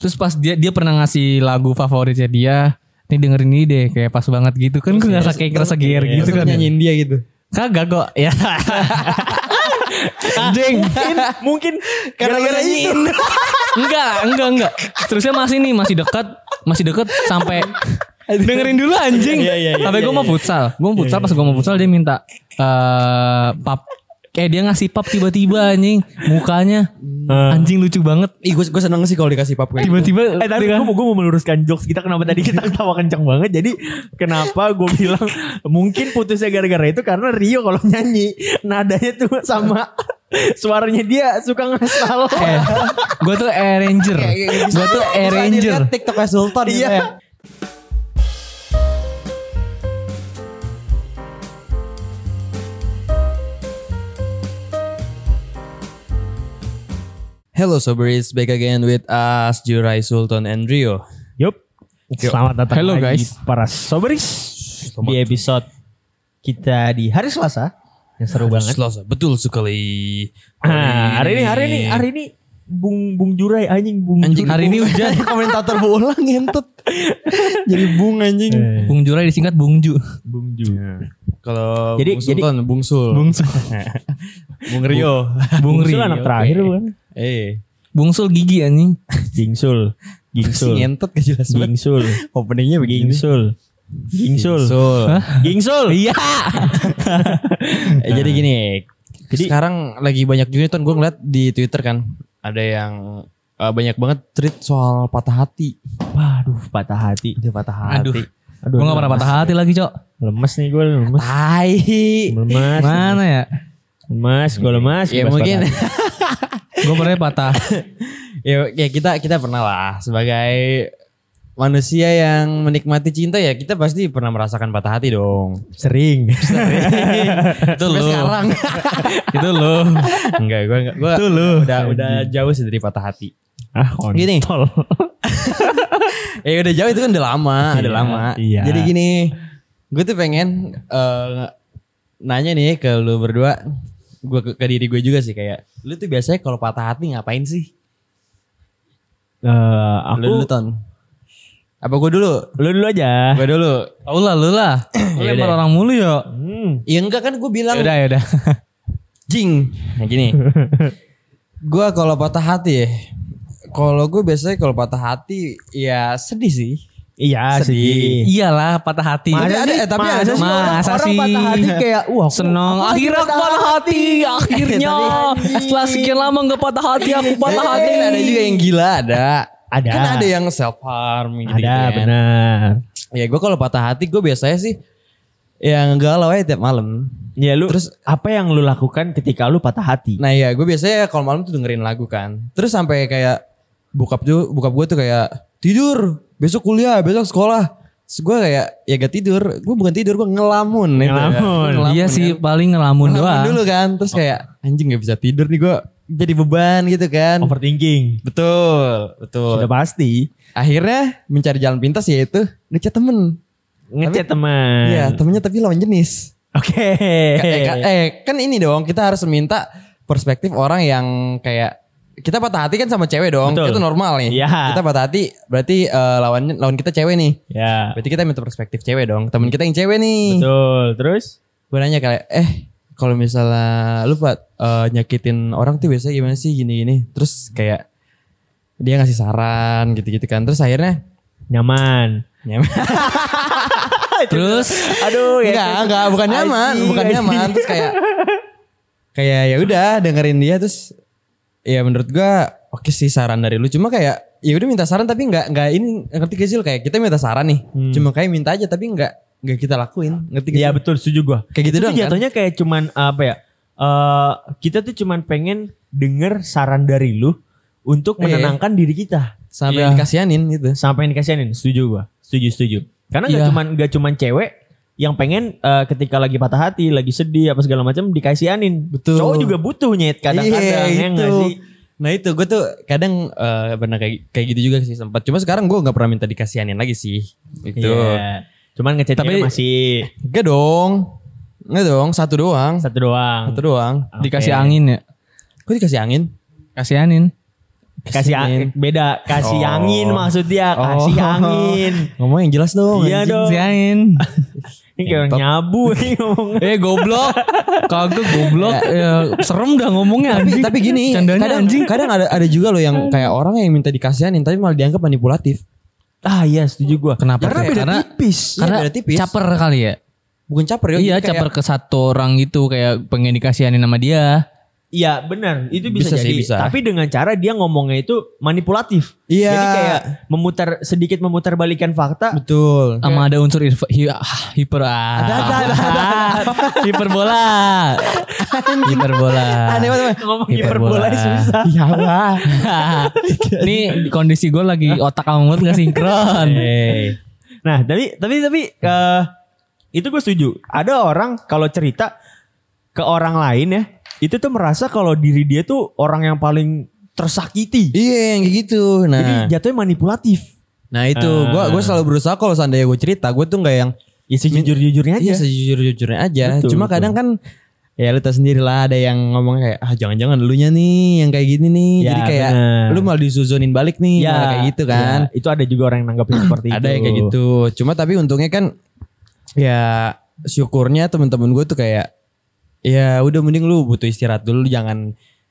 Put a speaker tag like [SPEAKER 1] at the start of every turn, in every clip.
[SPEAKER 1] Terus pas dia dia pernah ngasih lagu favoritnya dia, nih dengerin ini deh kayak pas banget gitu kan gue
[SPEAKER 2] ya,
[SPEAKER 1] ngerasa kayak ngerasa gear
[SPEAKER 3] Terus
[SPEAKER 1] gitu
[SPEAKER 3] lu
[SPEAKER 1] kan.
[SPEAKER 3] nyanyiin dia gitu.
[SPEAKER 1] Kagak kok ya. Ding.
[SPEAKER 2] Mungkin
[SPEAKER 3] Gara-gara
[SPEAKER 2] gara-gara
[SPEAKER 3] itu.
[SPEAKER 2] ini.
[SPEAKER 1] Enggak, enggak, enggak. Terusnya masih nih, masih dekat, masih dekat sampai dengerin dulu anjing.
[SPEAKER 2] Iya, iya, iya,
[SPEAKER 1] sampai
[SPEAKER 2] iya,
[SPEAKER 1] gue mau
[SPEAKER 2] iya.
[SPEAKER 1] futsal. Gue mau futsal pas gue mau futsal dia minta eh pap kayak dia ngasih pap tiba-tiba anjing mukanya anjing lucu banget
[SPEAKER 3] Ih gue gue seneng sih kalau dikasih pap kayak gitu.
[SPEAKER 1] tiba-tiba
[SPEAKER 2] Eh tapi gue, mau meluruskan jokes kita kenapa tadi kita ketawa kencang banget. Jadi kenapa gue bilang mungkin putusnya gara-gara itu karena Rio kalau nyanyi nadanya tuh sama suaranya dia suka ngasal.
[SPEAKER 1] eh, gue tuh arranger gue tuh arranger
[SPEAKER 3] Iya, Bisa dilihat TikToknya Sultan gitu
[SPEAKER 2] Iya.
[SPEAKER 3] ya. Hello Soberis, back again with us Jurai Sultan and Rio.
[SPEAKER 2] Yup. Selamat datang
[SPEAKER 1] Hello,
[SPEAKER 2] lagi
[SPEAKER 1] guys.
[SPEAKER 2] para soberis di episode kita di hari Selasa yang seru banget.
[SPEAKER 3] Selasa, betul sekali.
[SPEAKER 2] Ah, hari ini hari ini hari ini Bung Bung Jurai anjing Bung
[SPEAKER 3] Anjing
[SPEAKER 1] Hari ini
[SPEAKER 3] hujan komentator bola ngentut. Jadi bung anjing.
[SPEAKER 2] Jurai.
[SPEAKER 1] Bung Jurai disingkat Bung Ju
[SPEAKER 2] Bung Ju.
[SPEAKER 3] Ya. Kalau
[SPEAKER 2] Jadi-
[SPEAKER 3] Bung Sultan, Bung Sul, Bung Rio.
[SPEAKER 1] Bung
[SPEAKER 2] Sul
[SPEAKER 1] Ri
[SPEAKER 2] anak
[SPEAKER 1] oke.
[SPEAKER 2] terakhir bukan?
[SPEAKER 3] Eh,
[SPEAKER 1] Bung Sul gigi anjing
[SPEAKER 2] Gingsul.
[SPEAKER 3] si
[SPEAKER 2] Gingsul.
[SPEAKER 3] ngentut gak jelas banget.
[SPEAKER 2] Gingsul.
[SPEAKER 3] Openingnya begini.
[SPEAKER 2] Gingsul. Gingsul.
[SPEAKER 3] Sul.
[SPEAKER 2] Gingsul. Iya.
[SPEAKER 3] Eh, jadi gini,
[SPEAKER 2] Jadi-
[SPEAKER 3] sekarang lagi banyak juga Ton gue ngeliat di Twitter kan, ada yang eh, banyak banget tweet soal patah hati.
[SPEAKER 2] Waduh, patah hati.
[SPEAKER 3] Dia patah
[SPEAKER 1] aduh
[SPEAKER 2] Aduh.
[SPEAKER 1] gue gak pernah patah hati lagi cok
[SPEAKER 2] Lemes nih gue lemes.
[SPEAKER 3] Tai.
[SPEAKER 2] Lemes.
[SPEAKER 1] mana ya
[SPEAKER 2] Lemes, gue lemes.
[SPEAKER 3] Iya, Ya
[SPEAKER 2] lemes
[SPEAKER 3] mungkin
[SPEAKER 2] patah hati.
[SPEAKER 1] gue pernah patah
[SPEAKER 3] ya, ya kita kita pernah lah sebagai manusia yang menikmati cinta ya kita pasti pernah merasakan patah hati dong.
[SPEAKER 2] sering.
[SPEAKER 3] Itu
[SPEAKER 1] lu.
[SPEAKER 3] sekarang.
[SPEAKER 1] itu loh
[SPEAKER 3] Enggak, gue enggak. Gue
[SPEAKER 2] Itu lu.
[SPEAKER 3] udah udah jauh sih dari patah hati.
[SPEAKER 2] Ah, kontol.
[SPEAKER 3] Gini. Ya udah jauh itu kan udah lama,
[SPEAKER 2] Iya,
[SPEAKER 3] udah lama.
[SPEAKER 2] iya.
[SPEAKER 3] Jadi gini, gue tuh pengen eh, nanya nih ke lu berdua, gue ke, ke diri gue juga sih kayak, lu tuh biasanya kalau patah hati ngapain sih?
[SPEAKER 2] Eh, aku
[SPEAKER 3] Lu dulu ton. Apa gue dulu?
[SPEAKER 2] lu dulu aja.
[SPEAKER 3] Gue dulu.
[SPEAKER 1] tau Eh. Oh, lah lu lah lu
[SPEAKER 3] Yaudah.
[SPEAKER 1] lempar orang mulu yo
[SPEAKER 2] Hmm.
[SPEAKER 3] Ya enggak kan gue bilang
[SPEAKER 1] yaudah yaudah
[SPEAKER 3] jing. Nah gini. gue kalau patah hati ya, kalau gue biasanya kalau patah hati ya sedih sih.
[SPEAKER 2] Iya,
[SPEAKER 3] Sedih.
[SPEAKER 2] sedih.
[SPEAKER 1] iyalah patah hati
[SPEAKER 3] Tapi ada, eh, tapi ada
[SPEAKER 1] masa
[SPEAKER 3] sih orang-
[SPEAKER 1] masa
[SPEAKER 3] orang
[SPEAKER 1] sih?
[SPEAKER 3] patah hati kayak, wah aku-
[SPEAKER 1] seneng
[SPEAKER 3] aku lagi
[SPEAKER 1] akhirnya aku
[SPEAKER 3] patah
[SPEAKER 1] patah hati akhirnya
[SPEAKER 3] Tapi-
[SPEAKER 1] setelah sekian lama gak patah hati aku patah
[SPEAKER 3] Tapi
[SPEAKER 1] hati
[SPEAKER 3] kan Ada juga yang gila ada.
[SPEAKER 2] Ada.
[SPEAKER 3] Kan ada yang self harm gitu,
[SPEAKER 2] Ada, benar.
[SPEAKER 3] Ya gue kalau patah hati gue biasanya sih yang galau aja tiap malam.
[SPEAKER 2] Ya lu terus apa yang lu lakukan ketika lu patah hati?
[SPEAKER 3] Nah ya gue biasanya kalau malam tuh dengerin lagu kan. Terus sampai kayak bokap tuh bokap gue tuh kayak tidur besok kuliah besok sekolah. Terus gue kayak ya gak tidur. Gue bukan tidur gue ngelamun. gitu ya. Gua
[SPEAKER 2] Ngelamun.
[SPEAKER 1] iya
[SPEAKER 3] ngelamun
[SPEAKER 1] sih
[SPEAKER 3] kan.
[SPEAKER 1] paling ngelamun
[SPEAKER 3] Ngelamun
[SPEAKER 1] doang
[SPEAKER 3] dulu kan. Terus kayak anjing gak bisa tidur nih gue jadi beban gitu kan.
[SPEAKER 2] Overthinking.
[SPEAKER 3] Betul, betul.
[SPEAKER 2] Sudah pasti.
[SPEAKER 3] Akhirnya mencari jalan pintas yaitu ngechat temen.
[SPEAKER 2] Ngechat teman.
[SPEAKER 3] Iya temennya tapi lawan jenis.
[SPEAKER 2] Oke.
[SPEAKER 3] Ka- eh, ka- eh kan ini dong kita harus minta perspektif orang yang kayak kita patah hati kan sama cewek dong.
[SPEAKER 2] Betul.
[SPEAKER 3] Itu normal nih.
[SPEAKER 2] Iya.
[SPEAKER 3] Kita patah hati berarti eh, lawannya lawan kita cewek nih.
[SPEAKER 2] Ya.
[SPEAKER 3] Berarti kita minta perspektif cewek dong. Temen kita yang cewek nih.
[SPEAKER 2] Betul. Terus
[SPEAKER 3] Gue nanya kayak eh kalau misalnya lu Pak, eh, nyakitin orang tuh biasanya gimana sih gini-gini. Terus kayak dia ngasih saran gitu-gitu kan. Terus akhirnya
[SPEAKER 2] nyaman.
[SPEAKER 3] nyaman.
[SPEAKER 1] terus
[SPEAKER 2] Aduh ya kan?
[SPEAKER 3] Enggak, enggak, bukan nyaman,
[SPEAKER 2] Anjing,
[SPEAKER 3] bukan
[SPEAKER 2] anjing.
[SPEAKER 3] nyaman. Terus kayak kayak ya udah dengerin dia terus ya menurut gua oke sih saran dari lu cuma kayak ya udah minta saran tapi enggak enggak ini ngerti gak sih lu? kayak kita minta saran nih. Cuma kayak minta aja tapi enggak enggak kita lakuin. Ngerti gak sih?
[SPEAKER 2] Hmm. Iya betul setuju gua.
[SPEAKER 3] gitu. Kayak gitu
[SPEAKER 2] Itu
[SPEAKER 3] doang
[SPEAKER 2] tuh
[SPEAKER 3] kan?
[SPEAKER 2] jatuhnya kayak cuman apa ya? Eh kita tuh cuman pengen denger saran dari lu untuk
[SPEAKER 3] Iya.
[SPEAKER 2] menenangkan diri kita.
[SPEAKER 3] Sampai
[SPEAKER 1] Iya.
[SPEAKER 3] dikasianin gitu.
[SPEAKER 2] sampai yang dikasihanin setuju gua setuju setuju karena nggak
[SPEAKER 1] Iya.
[SPEAKER 2] cuman nggak cuman cewek yang pengen eh, ketika lagi patah hati lagi sedih apa segala macam dikasihanin
[SPEAKER 3] Betul.
[SPEAKER 2] cowok juga butuh
[SPEAKER 3] Iya,
[SPEAKER 2] nyet kadang-kadang ya nggak
[SPEAKER 3] itu.
[SPEAKER 2] sih
[SPEAKER 3] Nah itu gue tuh kadang eh, pernah kayak kayak gitu juga sih sempat. Cuma sekarang gua nggak pernah minta dikasianin lagi sih. Gitu.
[SPEAKER 2] Iya. cuman ngechatnya
[SPEAKER 1] Tapi-
[SPEAKER 2] masih
[SPEAKER 3] Enggak dong. Enggak dong, satu doang.
[SPEAKER 2] satu doang
[SPEAKER 3] Satu doang.
[SPEAKER 2] Oke.
[SPEAKER 1] dikasih angin ya
[SPEAKER 3] Kok dikasih angin?
[SPEAKER 1] kasihanin
[SPEAKER 2] Kasih
[SPEAKER 3] Kasihin.
[SPEAKER 2] angin. Beda. Kasih
[SPEAKER 3] Oh.
[SPEAKER 2] angin maksud dia. Kasih
[SPEAKER 3] Oh.
[SPEAKER 2] angin.
[SPEAKER 3] Ngomong yang jelas dong.
[SPEAKER 2] Iya
[SPEAKER 3] anjing.
[SPEAKER 2] dong.
[SPEAKER 1] Siain.
[SPEAKER 2] Ini kayak orang nyabu ini ngomong.
[SPEAKER 1] Eh goblok. Kagak goblok. Ya, serem dah ngomongnya
[SPEAKER 3] Tapi,
[SPEAKER 1] anjing.
[SPEAKER 3] tapi gini,
[SPEAKER 1] Candanya
[SPEAKER 3] kadang,
[SPEAKER 1] anjing.
[SPEAKER 3] kadang ada ada juga loh
[SPEAKER 2] Hmm.
[SPEAKER 3] yang kayak orang yang minta dikasihanin tapi malah dianggap manipulatif.
[SPEAKER 2] Ah iya setuju gua.
[SPEAKER 1] Kenapa
[SPEAKER 2] Karena
[SPEAKER 1] kayak-
[SPEAKER 2] beda
[SPEAKER 1] karena-
[SPEAKER 2] tipis.
[SPEAKER 3] Iya,
[SPEAKER 1] Karena
[SPEAKER 3] beda tipis.
[SPEAKER 1] caper kali ya.
[SPEAKER 3] Bukan caper ya.
[SPEAKER 1] iya
[SPEAKER 3] jadi kayak
[SPEAKER 1] caper ke satu orang gitu. Kayak pengen dikasihanin sama dia.
[SPEAKER 2] Iya benar itu
[SPEAKER 3] Bisa
[SPEAKER 2] bisa, jadi.
[SPEAKER 3] sih, bisa.
[SPEAKER 2] Tapi dengan cara dia ngomongnya itu manipulatif.
[SPEAKER 3] Iya.
[SPEAKER 2] Jadi kayak memutar sedikit memutar balikan fakta. Nah,
[SPEAKER 3] Betul.
[SPEAKER 1] Sama ada unsur hi- hi- ah, hiper. ah. Hiperbola. Hiperbola.
[SPEAKER 3] Aneh banget. Bang.
[SPEAKER 2] Ngomong
[SPEAKER 1] Hiperbola.
[SPEAKER 2] hiperbola iya, susah.
[SPEAKER 3] Iya lah.
[SPEAKER 1] Nih kondisi gue lagi otak sama mulut gak sinkron.
[SPEAKER 2] Nah tapi tapi tapi eh, itu gue setuju. Ada orang kalau cerita ke orang lain ya itu tuh merasa kalau diri dia tuh orang yang paling tersakiti.
[SPEAKER 3] Iya yang kayak gitu. Nah.
[SPEAKER 2] Jadi Ah. jatuhnya manipulatif.
[SPEAKER 3] Nah itu gue gue selalu berusaha kalau seandainya gue cerita gue tuh nggak yang
[SPEAKER 2] Ya sejujur-jujurnya aja.
[SPEAKER 3] iya sejujur-jujurnya aja.
[SPEAKER 2] Betul,
[SPEAKER 3] Cuma
[SPEAKER 2] betul.
[SPEAKER 3] kadang kan ya lu tau sendiri lah ada yang ngomong kayak ah jangan-jangan elunya nih yang kayak gini nih.
[SPEAKER 2] Ya,
[SPEAKER 3] Jadi kayak
[SPEAKER 2] bener.
[SPEAKER 3] lu malah disuzunin balik nih malah kayak gitu kan.
[SPEAKER 2] ya, Iya. itu ada juga orang yang nanggapin seperti itu.
[SPEAKER 3] Ada yang kayak gitu. Cuma tapi untungnya kan ya syukurnya teman-teman gue tuh kayak ya udah mending lu butuh istirahat dulu jangan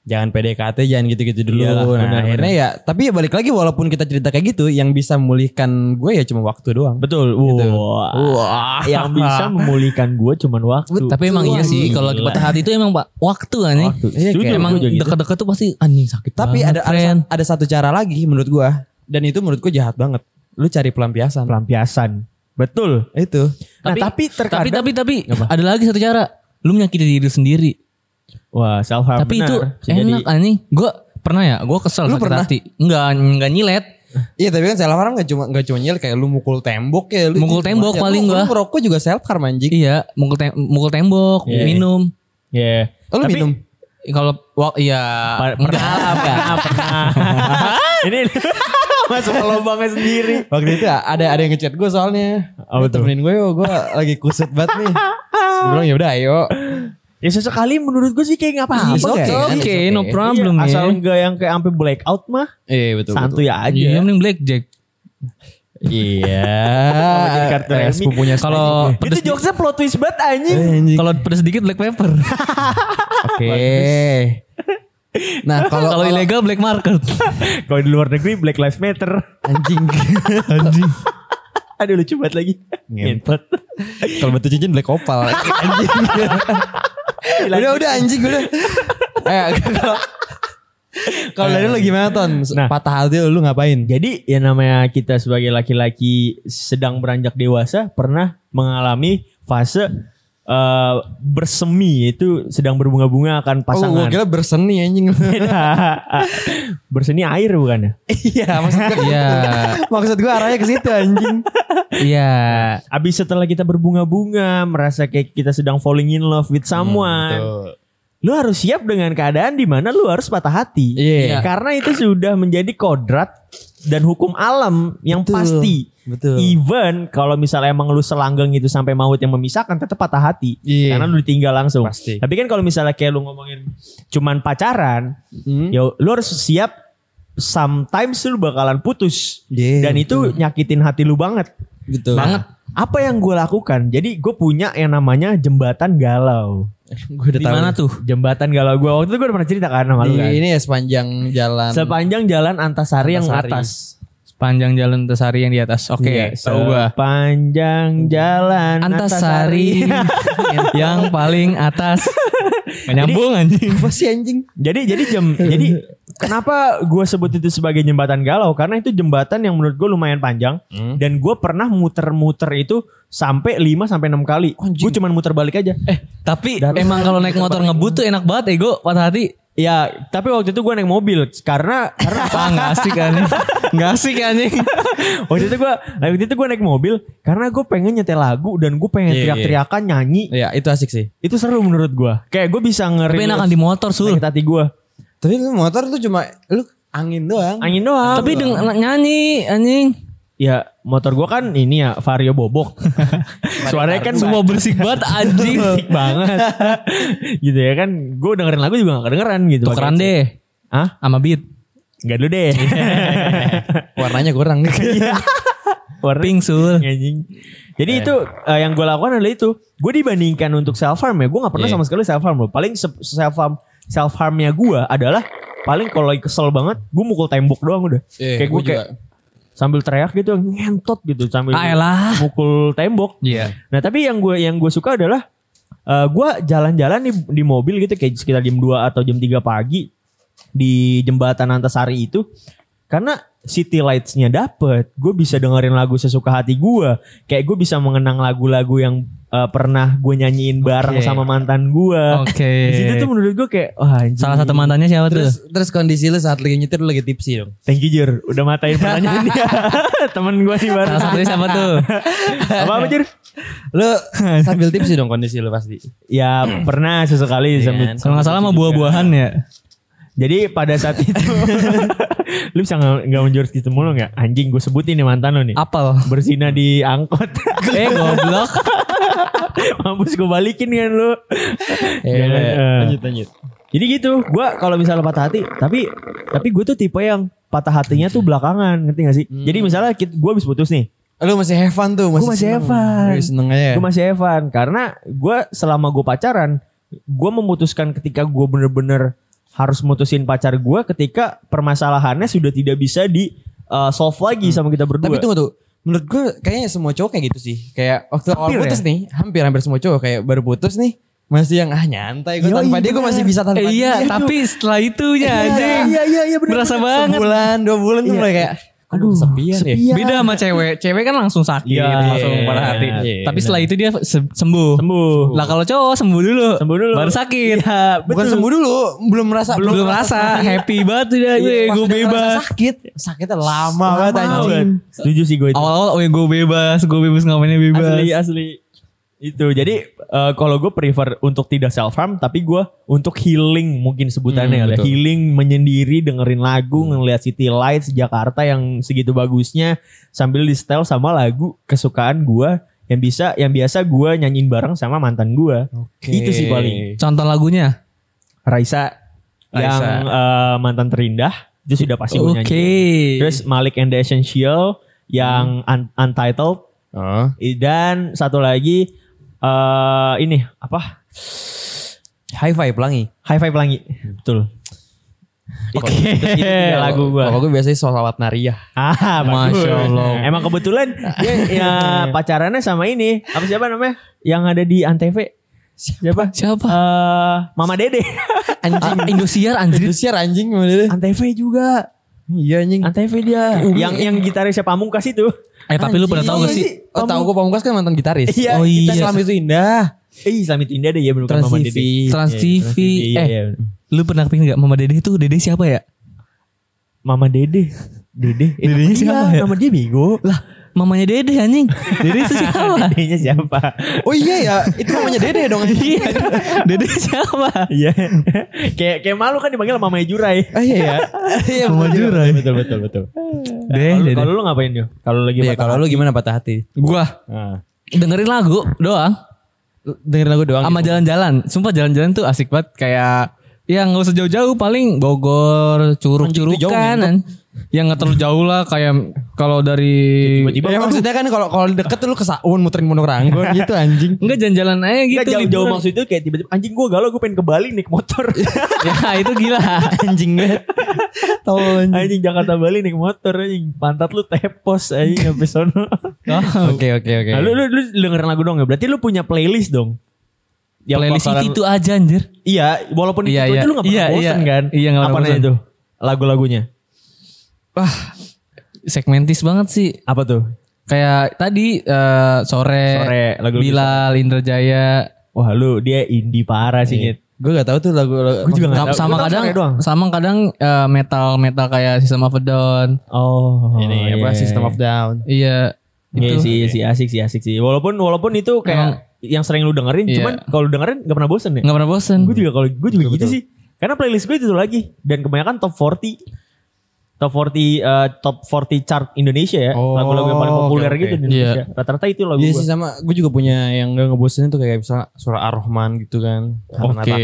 [SPEAKER 3] jangan PDKT jangan gitu-gitu dulu.
[SPEAKER 2] Iyalah,
[SPEAKER 3] nah,
[SPEAKER 2] benar,
[SPEAKER 3] akhirnya ya tapi ya balik lagi walaupun kita cerita kayak gitu yang bisa memulihkan gue ya cuma waktu doang.
[SPEAKER 2] Betul.
[SPEAKER 3] Gitu.
[SPEAKER 2] Wah.
[SPEAKER 3] Wah.
[SPEAKER 2] Yang bisa memulihkan gue cuman waktu.
[SPEAKER 1] Tapi emang iya sih kalau patah hati itu emang pak waktu anjing.
[SPEAKER 2] Waktu.
[SPEAKER 3] Iya,
[SPEAKER 2] Setuju,
[SPEAKER 3] kayak-
[SPEAKER 1] Emang
[SPEAKER 2] gua juga gitu.
[SPEAKER 1] deket-deket tuh pasti anjing sakit
[SPEAKER 3] Tapi
[SPEAKER 1] banget,
[SPEAKER 3] ada, ada
[SPEAKER 1] friend.
[SPEAKER 3] sa- ada satu cara lagi menurut gua dan itu menurut gua jahat banget. Lu cari pelampiasan.
[SPEAKER 2] pelampiasan. Betul.
[SPEAKER 3] Itu.
[SPEAKER 2] Nah,
[SPEAKER 1] Tapi-
[SPEAKER 2] tapi terkadang
[SPEAKER 1] Tapi tapi tapi ada lagi satu cara. Lu menyakiti diri lu sendiri.
[SPEAKER 2] wah self harm.
[SPEAKER 1] tapi itu enak anjing. Gue pernah ya, gue kesel
[SPEAKER 3] Lu
[SPEAKER 1] sakit
[SPEAKER 3] pernah?
[SPEAKER 1] hati. Enggak enggak nyilet.
[SPEAKER 3] Iya tapi kan self harm gak cuma gak cuma nyel kayak lu mukul tembok ya lu
[SPEAKER 1] Mukul tembok
[SPEAKER 3] Lu-
[SPEAKER 1] paling
[SPEAKER 3] lu
[SPEAKER 1] gua.
[SPEAKER 3] merokok juga self harm anjing.
[SPEAKER 1] Iya, mukul tem- mukul tembok,
[SPEAKER 2] Iya.
[SPEAKER 1] minum.
[SPEAKER 2] Ya.
[SPEAKER 3] Oh, lu
[SPEAKER 2] Tapi-
[SPEAKER 3] minum.
[SPEAKER 1] Kalau wah iya
[SPEAKER 2] Pa-
[SPEAKER 1] enggak, enggak.
[SPEAKER 2] Ini masuk ke lubangnya sendiri.
[SPEAKER 3] Waktu itu ada ada yang ngechat gue soalnya.
[SPEAKER 2] Apa
[SPEAKER 3] Lu
[SPEAKER 2] tuh?
[SPEAKER 3] Temenin gue yo, gue lagi kusut banget nih. Terus Gue bilang ya udah ayo.
[SPEAKER 2] Ya sesekali menurut gue sih kayak nggak apa-apa.
[SPEAKER 3] It's
[SPEAKER 1] Ah, Oke,
[SPEAKER 3] okay,
[SPEAKER 1] oke,
[SPEAKER 3] it's okay.
[SPEAKER 1] no problem
[SPEAKER 2] Iya,
[SPEAKER 1] ya.
[SPEAKER 2] Asal enggak yang kayak sampai blackout mah.
[SPEAKER 3] Iya betul.
[SPEAKER 2] santuy ya? aja.
[SPEAKER 1] Iya, mending blackjack.
[SPEAKER 3] Iya.
[SPEAKER 2] Oh, jadi kartu
[SPEAKER 3] Eh,
[SPEAKER 2] remi.
[SPEAKER 3] sepupunya
[SPEAKER 1] Kalau
[SPEAKER 3] Spike. Eh,
[SPEAKER 1] pedes
[SPEAKER 2] Itu jokesnya plot twist banget anjing.
[SPEAKER 1] kalau pedes sedikit black pepper.
[SPEAKER 3] oke. Nah kalau
[SPEAKER 1] Kalau ilegal black market.
[SPEAKER 2] Kalau di luar negeri Black Lives Matter.
[SPEAKER 3] anjing
[SPEAKER 1] Anjing.
[SPEAKER 2] Aduh lucu banget lagi. Ngempet.
[SPEAKER 3] kalau batu cincin black opal anjing udah udah anjing udah eh kalau- kalau dari lu gimana ton
[SPEAKER 2] Nah.
[SPEAKER 3] patah hati lu ngapain
[SPEAKER 2] Jadi ya namanya kita sebagai laki-laki sedang beranjak dewasa pernah mengalami fase eh, bersemi itu sedang berbunga-bunga
[SPEAKER 3] oh
[SPEAKER 2] akan
[SPEAKER 3] gua
[SPEAKER 2] pasangan. Iya.
[SPEAKER 3] kira berseni anjing
[SPEAKER 2] berseni air bukan ya?
[SPEAKER 3] iya maksud gua
[SPEAKER 1] Iya.
[SPEAKER 3] maksud gua arahnya ke situ anjing
[SPEAKER 1] Iya.
[SPEAKER 2] Abis setelah kita berbunga-bunga merasa kayak kita sedang falling in love with
[SPEAKER 3] Hmm,
[SPEAKER 2] someone. lu harus siap dengan keadaan di mana lu harus patah hati.
[SPEAKER 3] Iya.
[SPEAKER 2] Karena itu sudah menjadi kodrat dan hukum alam yang
[SPEAKER 3] Betul.
[SPEAKER 2] pasti.
[SPEAKER 3] betul
[SPEAKER 2] Even kalau misalnya emang lu selanggeng itu sampai maut yang memisahkan tetap patah hati.
[SPEAKER 3] Iya.
[SPEAKER 2] Karena lu ditinggal langsung.
[SPEAKER 3] Pasti.
[SPEAKER 2] Tapi kan kalau misalnya kayak lu ngomongin cuman pacaran,
[SPEAKER 3] Hmm.
[SPEAKER 2] ya lu harus siap sometimes lu bakalan putus.
[SPEAKER 3] Iya,
[SPEAKER 2] Dan itu nyakitin hati lu banget.
[SPEAKER 3] betul
[SPEAKER 1] Banget.
[SPEAKER 2] Apa yang gue lakukan? Jadi gue punya yang namanya jembatan galau.
[SPEAKER 3] gua udah
[SPEAKER 1] Di
[SPEAKER 3] tahu
[SPEAKER 1] mana tuh?
[SPEAKER 2] Jembatan galau gue waktu itu gue udah pernah cerita kan sama
[SPEAKER 3] di
[SPEAKER 2] lu kan.
[SPEAKER 3] ini ya sepanjang jalan
[SPEAKER 2] Sepanjang jalan Antasari, yang
[SPEAKER 3] Antasari.
[SPEAKER 2] atas.
[SPEAKER 1] Sepanjang jalan Antasari yang di atas. Oke,
[SPEAKER 2] Iya,
[SPEAKER 1] tahu gua.
[SPEAKER 2] Sepanjang jalan
[SPEAKER 1] Antasari yang paling atas. Nggak Nyambung anjing.
[SPEAKER 3] apa sih anjing
[SPEAKER 2] Jadi jadi jam jadi kenapa gue sebut itu sebagai jembatan galau karena itu jembatan yang menurut gue lumayan panjang
[SPEAKER 1] Hmm.
[SPEAKER 2] dan gue pernah muter-muter itu sampai 5 sampai 6 kali. Gue cuman muter balik aja.
[SPEAKER 1] Eh, tapi
[SPEAKER 2] Datang.
[SPEAKER 1] emang kalau naik motor ngebut tuh enak banget ego patah hati.
[SPEAKER 2] Ya, tapi waktu itu gue naik mobil karena karena
[SPEAKER 1] Wah gak asik anjing. Gak asik anjing.
[SPEAKER 2] waktu itu gue waktu itu gue naik mobil karena gue pengen nyetel lagu dan gue
[SPEAKER 3] Iya,
[SPEAKER 2] pengen
[SPEAKER 3] iya.
[SPEAKER 2] teriak-teriakan nyanyi.
[SPEAKER 3] ya itu asik sih
[SPEAKER 2] Itu seru menurut gue. Kayak gue bisa
[SPEAKER 1] Tapi
[SPEAKER 2] ngeri
[SPEAKER 1] enakan di motor sul.
[SPEAKER 2] sakit hati gue.
[SPEAKER 3] tapi lu motor tuh cuma lu angin doang
[SPEAKER 2] Angin doang.
[SPEAKER 1] Tapi dengan nyanyi anjing.
[SPEAKER 2] ya motor gua kan ini ya vario bobok. Suaranya kan semua
[SPEAKER 1] Semua bersih banget anjing.
[SPEAKER 2] berisik banget. gitu ya kan. Gue dengerin lagu juga gak kedengeran gitu.
[SPEAKER 1] Tukeran
[SPEAKER 2] Pakai headset.
[SPEAKER 1] deh
[SPEAKER 2] Hah?
[SPEAKER 1] sama beat.
[SPEAKER 2] Enggak dulu deh.
[SPEAKER 3] Warnanya kurang nih.
[SPEAKER 1] Iya.
[SPEAKER 2] Warna
[SPEAKER 1] Pink sul.
[SPEAKER 2] anjing. Jadi
[SPEAKER 1] Iya.
[SPEAKER 2] itu eh, yang gue lakukan adalah itu. Gue dibandingkan untuk self harm ya, gue nggak pernah
[SPEAKER 3] Iya.
[SPEAKER 2] sama sekali self harm loh. Paling self harm self harmnya gue adalah paling kalau lagi kesel banget, gue mukul tembok doang udah.
[SPEAKER 3] Iya,
[SPEAKER 2] kayak
[SPEAKER 3] gua
[SPEAKER 2] gue kayak sambil teriak gitu ngentot gitu sambil
[SPEAKER 1] Ah elah.
[SPEAKER 2] mukul tembok.
[SPEAKER 1] Iya.
[SPEAKER 2] Nah tapi yang gue yang gue suka adalah eh gue jalan-jalan di, di mobil gitu kayak sekitar jam 2 atau jam 3 pagi di jembatan Antasari itu karena city lights-nya dapet gue bisa dengerin lagu sesuka hati gue kayak gue bisa mengenang lagu-lagu yang eh, pernah gue nyanyiin bareng
[SPEAKER 3] Oke.
[SPEAKER 2] sama mantan gue
[SPEAKER 1] Oke.
[SPEAKER 2] di situ tuh menurut gue kayak wah anjing.
[SPEAKER 1] Salah satu mantannya siapa tuh?
[SPEAKER 3] Terus terus kondisi lu saat lagi nyetir lu lagi tipsi dong.
[SPEAKER 2] thank you Jur udah matain pertanyaan dia temen gue nih baru
[SPEAKER 1] Salah satunya siapa tuh?
[SPEAKER 2] apa apa Jur
[SPEAKER 3] Lu sambil tipsi dong kondisi lu pasti.
[SPEAKER 2] ya pernah sesekali
[SPEAKER 3] Iya kan?
[SPEAKER 2] sambil-
[SPEAKER 1] Kalau nggak salah mah buah-buahan ya.
[SPEAKER 2] Jadi pada saat itu lu bisa nggak nggak menjurus gitu mulu nggak? Anjing gue sebutin nih mantan lu nih.
[SPEAKER 1] Apel.
[SPEAKER 2] Bersina di angkot.
[SPEAKER 1] Eh goblok.
[SPEAKER 2] Mampus gue balikin kan lu.
[SPEAKER 3] Iya,
[SPEAKER 2] Jangan, eh.
[SPEAKER 3] lanjut lanjut.
[SPEAKER 2] Jadi gitu, gue kalau misalnya patah hati, tapi tapi gue tuh tipe yang patah hatinya tuh belakangan, ngerti gak sih? Jadi misalnya gue habis putus nih,
[SPEAKER 3] Lu masih have fun tuh, masih,
[SPEAKER 2] masih
[SPEAKER 3] seneng.
[SPEAKER 2] have fun.
[SPEAKER 3] Masih seneng aja.
[SPEAKER 2] gue masih Evan karena gue selama gue pacaran, gue memutuskan ketika gue bener-bener harus mutusin pacar gue ketika permasalahannya sudah tidak bisa di eh, solve lagi sama kita
[SPEAKER 3] Hmm.
[SPEAKER 2] berdua.
[SPEAKER 3] Tapi tunggu tuh. Menurut gue kayaknya semua cowok kayak gitu sih. Kayak waktu awal
[SPEAKER 2] Hampir ya?
[SPEAKER 3] putus nih, hampir-hampir semua cowok kayak baru putus nih. Masih yang ah nyantai gue
[SPEAKER 2] Yoi,
[SPEAKER 3] tanpa dia gue masih bisa tanpa
[SPEAKER 1] Eh,
[SPEAKER 3] dia.
[SPEAKER 1] iya, tapi setelah itunya anjing.
[SPEAKER 2] Iya iya iya bener.
[SPEAKER 1] Berasa banget.
[SPEAKER 3] Sebulan, dua bulan tuh
[SPEAKER 2] Iya.
[SPEAKER 3] mulai kayak
[SPEAKER 2] Aduh,
[SPEAKER 3] sepian ya.
[SPEAKER 2] sepian.
[SPEAKER 1] Beda sama cewek. Cewek kan langsung sakit,
[SPEAKER 2] Iya,
[SPEAKER 1] langsung
[SPEAKER 2] iya,
[SPEAKER 1] patah hati.
[SPEAKER 3] iya,
[SPEAKER 1] Tapi
[SPEAKER 3] benar.
[SPEAKER 1] setelah itu dia se- sembuh.
[SPEAKER 3] Oh.
[SPEAKER 2] Sembuh.
[SPEAKER 1] Lah kalau cowok sembuh dulu.
[SPEAKER 2] Sembuh dulu.
[SPEAKER 1] Baru sakit.
[SPEAKER 3] Bukan sembuh dulu, Iya, belum Iya. merasa
[SPEAKER 1] belum, belum rasa happy banget udah gue
[SPEAKER 3] Pas
[SPEAKER 1] gue
[SPEAKER 3] udah ngerasa
[SPEAKER 1] bebas.
[SPEAKER 3] Sakit, sakitnya lama,
[SPEAKER 2] iya, Lama
[SPEAKER 3] banget anjing.
[SPEAKER 2] banget. Setuju sih gue itu.
[SPEAKER 1] Awal-awal oh ya gue bebas, gue bebas ngapainnya bebas.
[SPEAKER 2] asli
[SPEAKER 3] iya.
[SPEAKER 2] asli. Itu jadi eh, kalau gue prefer untuk tidak self harm tapi gue untuk healing mungkin
[SPEAKER 3] Hmm,
[SPEAKER 2] sebutannya kali ya.
[SPEAKER 3] betul. Hmm.
[SPEAKER 2] Healing menyendiri dengerin lagu ngeliat city lights Jakarta yang segitu bagusnya sambil di setel sama lagu kesukaan gue yang bisa yang biasa gue nyanyiin bareng sama mantan gue. Itu sih paling.
[SPEAKER 1] Contoh lagunya.
[SPEAKER 2] Raisa, yang
[SPEAKER 3] Raisa.
[SPEAKER 2] eh, mantan terindah itu sudah pasti gue
[SPEAKER 1] Oke.
[SPEAKER 2] nyanyiin. Terus Malik and the Essential yang
[SPEAKER 3] Hmm.
[SPEAKER 2] un- untitled
[SPEAKER 3] Oh.
[SPEAKER 2] dan satu lagi eh ini apa?
[SPEAKER 3] High five pelangi.
[SPEAKER 2] High Five Pelangi. Betul. Oke, itu tiga lagu
[SPEAKER 3] Kalau
[SPEAKER 2] gua.
[SPEAKER 3] gue biasanya salawat nariyah.
[SPEAKER 2] Ah, bagus.
[SPEAKER 1] Masya Allah.
[SPEAKER 2] Emang kebetulan dia ya pacarannya sama ini. Apa siapa namanya? Yang ada di Antv. Siapa?
[SPEAKER 1] Siapa?
[SPEAKER 2] Eh, Mama Dede.
[SPEAKER 1] Anjing. Indosiar anjir.
[SPEAKER 3] Itu sih anjing gimana deh.
[SPEAKER 2] Antv juga.
[SPEAKER 3] Iya anjing.
[SPEAKER 2] Antv dia. Yang yang gitarisnya Pamungkas itu.
[SPEAKER 1] Eh tapi lu pernah tahu gak
[SPEAKER 2] Anjing.
[SPEAKER 1] sih?
[SPEAKER 3] Oh tahu gue Pamungkas kan mantan gitaris.
[SPEAKER 2] Iya,
[SPEAKER 3] oh
[SPEAKER 1] kita
[SPEAKER 3] iya.
[SPEAKER 1] Selam
[SPEAKER 3] itu indah.
[SPEAKER 2] Eh, Islamit Indah deh ya bener bukan
[SPEAKER 3] Trans
[SPEAKER 2] Mama
[SPEAKER 3] TV.
[SPEAKER 2] Dede.
[SPEAKER 1] Trans
[SPEAKER 2] Iya,
[SPEAKER 1] TV.
[SPEAKER 2] Iya,
[SPEAKER 1] Eh,
[SPEAKER 2] iya.
[SPEAKER 1] Lu pernah kepingin gak Mama Dede itu Dede siapa ya?
[SPEAKER 2] Mama Dede. Dede. Eh,
[SPEAKER 1] Dedenya
[SPEAKER 2] nama dia,
[SPEAKER 1] siapa ya?
[SPEAKER 2] Nama dia bego.
[SPEAKER 1] Lah, mamanya Dede anjing. Dede itu siapa?
[SPEAKER 2] Adanya siapa?
[SPEAKER 3] Oh iya ya, itu namanya Dede dong.
[SPEAKER 1] Iya. Dede siapa?
[SPEAKER 2] Iya. kayak kayak malu kan dipanggil Mama Jurai.
[SPEAKER 3] Oh iya ya. Iya
[SPEAKER 1] Mama Jurai.
[SPEAKER 2] Betul betul betul.
[SPEAKER 1] Dede.
[SPEAKER 2] Kalau-
[SPEAKER 1] Dede.
[SPEAKER 2] Kalau lu ngapain yo? Kalau lagi
[SPEAKER 3] Nah, Iya,
[SPEAKER 2] patah
[SPEAKER 3] kalau
[SPEAKER 2] hati.
[SPEAKER 3] lu gimana patah hati?
[SPEAKER 1] Gua
[SPEAKER 2] Nah.
[SPEAKER 1] dengerin lagu doang
[SPEAKER 3] Dengerin lagu doang.
[SPEAKER 2] gitu.
[SPEAKER 1] sama jalan-jalan. Sumpah jalan-jalan tuh asik banget kayak ya nggak usah jauh-jauh paling Bogor,
[SPEAKER 3] Anjing, itu jauh,
[SPEAKER 1] curug-curugan. Yang nggak terlalu jauh lah kayak kalau dari
[SPEAKER 2] Tiba-tiba
[SPEAKER 3] Ya maksudnya kan kalau kalau deket tuh lu ke Saun muterin Pondok Ranggon gitu anjing.
[SPEAKER 1] Enggak jalan-jalan aja gitu
[SPEAKER 2] Nggak, jauh-jauh
[SPEAKER 1] liburan.
[SPEAKER 2] maksud itu kayak tiba-tiba anjing gua galau gua pengen ke Bali naik motor.
[SPEAKER 1] ya itu gila.
[SPEAKER 3] Anjing banget. Tahu anjing.
[SPEAKER 2] anjing Jakarta Bali naik motor anjing pantat lu tepos anjing sampai sono.
[SPEAKER 1] Oh.
[SPEAKER 3] Oke oke oke.
[SPEAKER 2] Nah, lu, lu, lu dengerin lagu dong ya? Berarti lu punya playlist dong. Yang
[SPEAKER 1] Playlist
[SPEAKER 2] bakalan-
[SPEAKER 1] itu aja anjir.
[SPEAKER 2] Iya, walaupun
[SPEAKER 1] Iya,
[SPEAKER 2] itu aja
[SPEAKER 1] iya.
[SPEAKER 2] lu gak pernah
[SPEAKER 1] Iya,
[SPEAKER 2] bosen
[SPEAKER 1] iya.
[SPEAKER 2] kan?
[SPEAKER 1] Iya, nggak pernah
[SPEAKER 2] Apa namanya
[SPEAKER 1] bosen.
[SPEAKER 2] itu? Lagu-lagunya.
[SPEAKER 1] Wah, segmentis banget sih.
[SPEAKER 2] Apa tuh?
[SPEAKER 1] Kayak tadi eh, sore,
[SPEAKER 2] Sore, lagu-lagu
[SPEAKER 1] Bilal, Indra Jaya.
[SPEAKER 2] Wah lu dia indie parah sih. Nyet.
[SPEAKER 3] Gue gak tahu tuh lagu lagu.
[SPEAKER 2] Gua juga nggak
[SPEAKER 1] Sama,
[SPEAKER 2] tahu. Lu tahu
[SPEAKER 1] kadang
[SPEAKER 2] sore doang?
[SPEAKER 1] sama kadang eh, metal metal kayak System of a Down.
[SPEAKER 2] Oh,
[SPEAKER 3] Ini apa System of Down.
[SPEAKER 1] Iya,
[SPEAKER 2] Iya
[SPEAKER 1] itu.
[SPEAKER 2] sih, iya sih asik sih asik sih. Walaupun walaupun itu kayak yang sering lu dengerin,
[SPEAKER 1] Iya.
[SPEAKER 2] cuman kalau lu dengerin gak pernah bosen ya.
[SPEAKER 1] nggak pernah bosen.
[SPEAKER 2] Gue juga kalau gue juga gitu sih. Karena playlist gue itu lagi dan kebanyakan top 40. top 40 eh, top 40 chart Indonesia ya.
[SPEAKER 3] Oh,
[SPEAKER 2] Lagu-lagu yang paling
[SPEAKER 3] oke,
[SPEAKER 2] populer
[SPEAKER 3] oke.
[SPEAKER 2] gitu di Indonesia. Rata-rata itu lagu
[SPEAKER 3] Iya
[SPEAKER 2] gua.
[SPEAKER 3] sih sama gue juga punya yang gak ngebosenin tuh kayak misalnya suara Ar-Rahman gitu kan. Oke.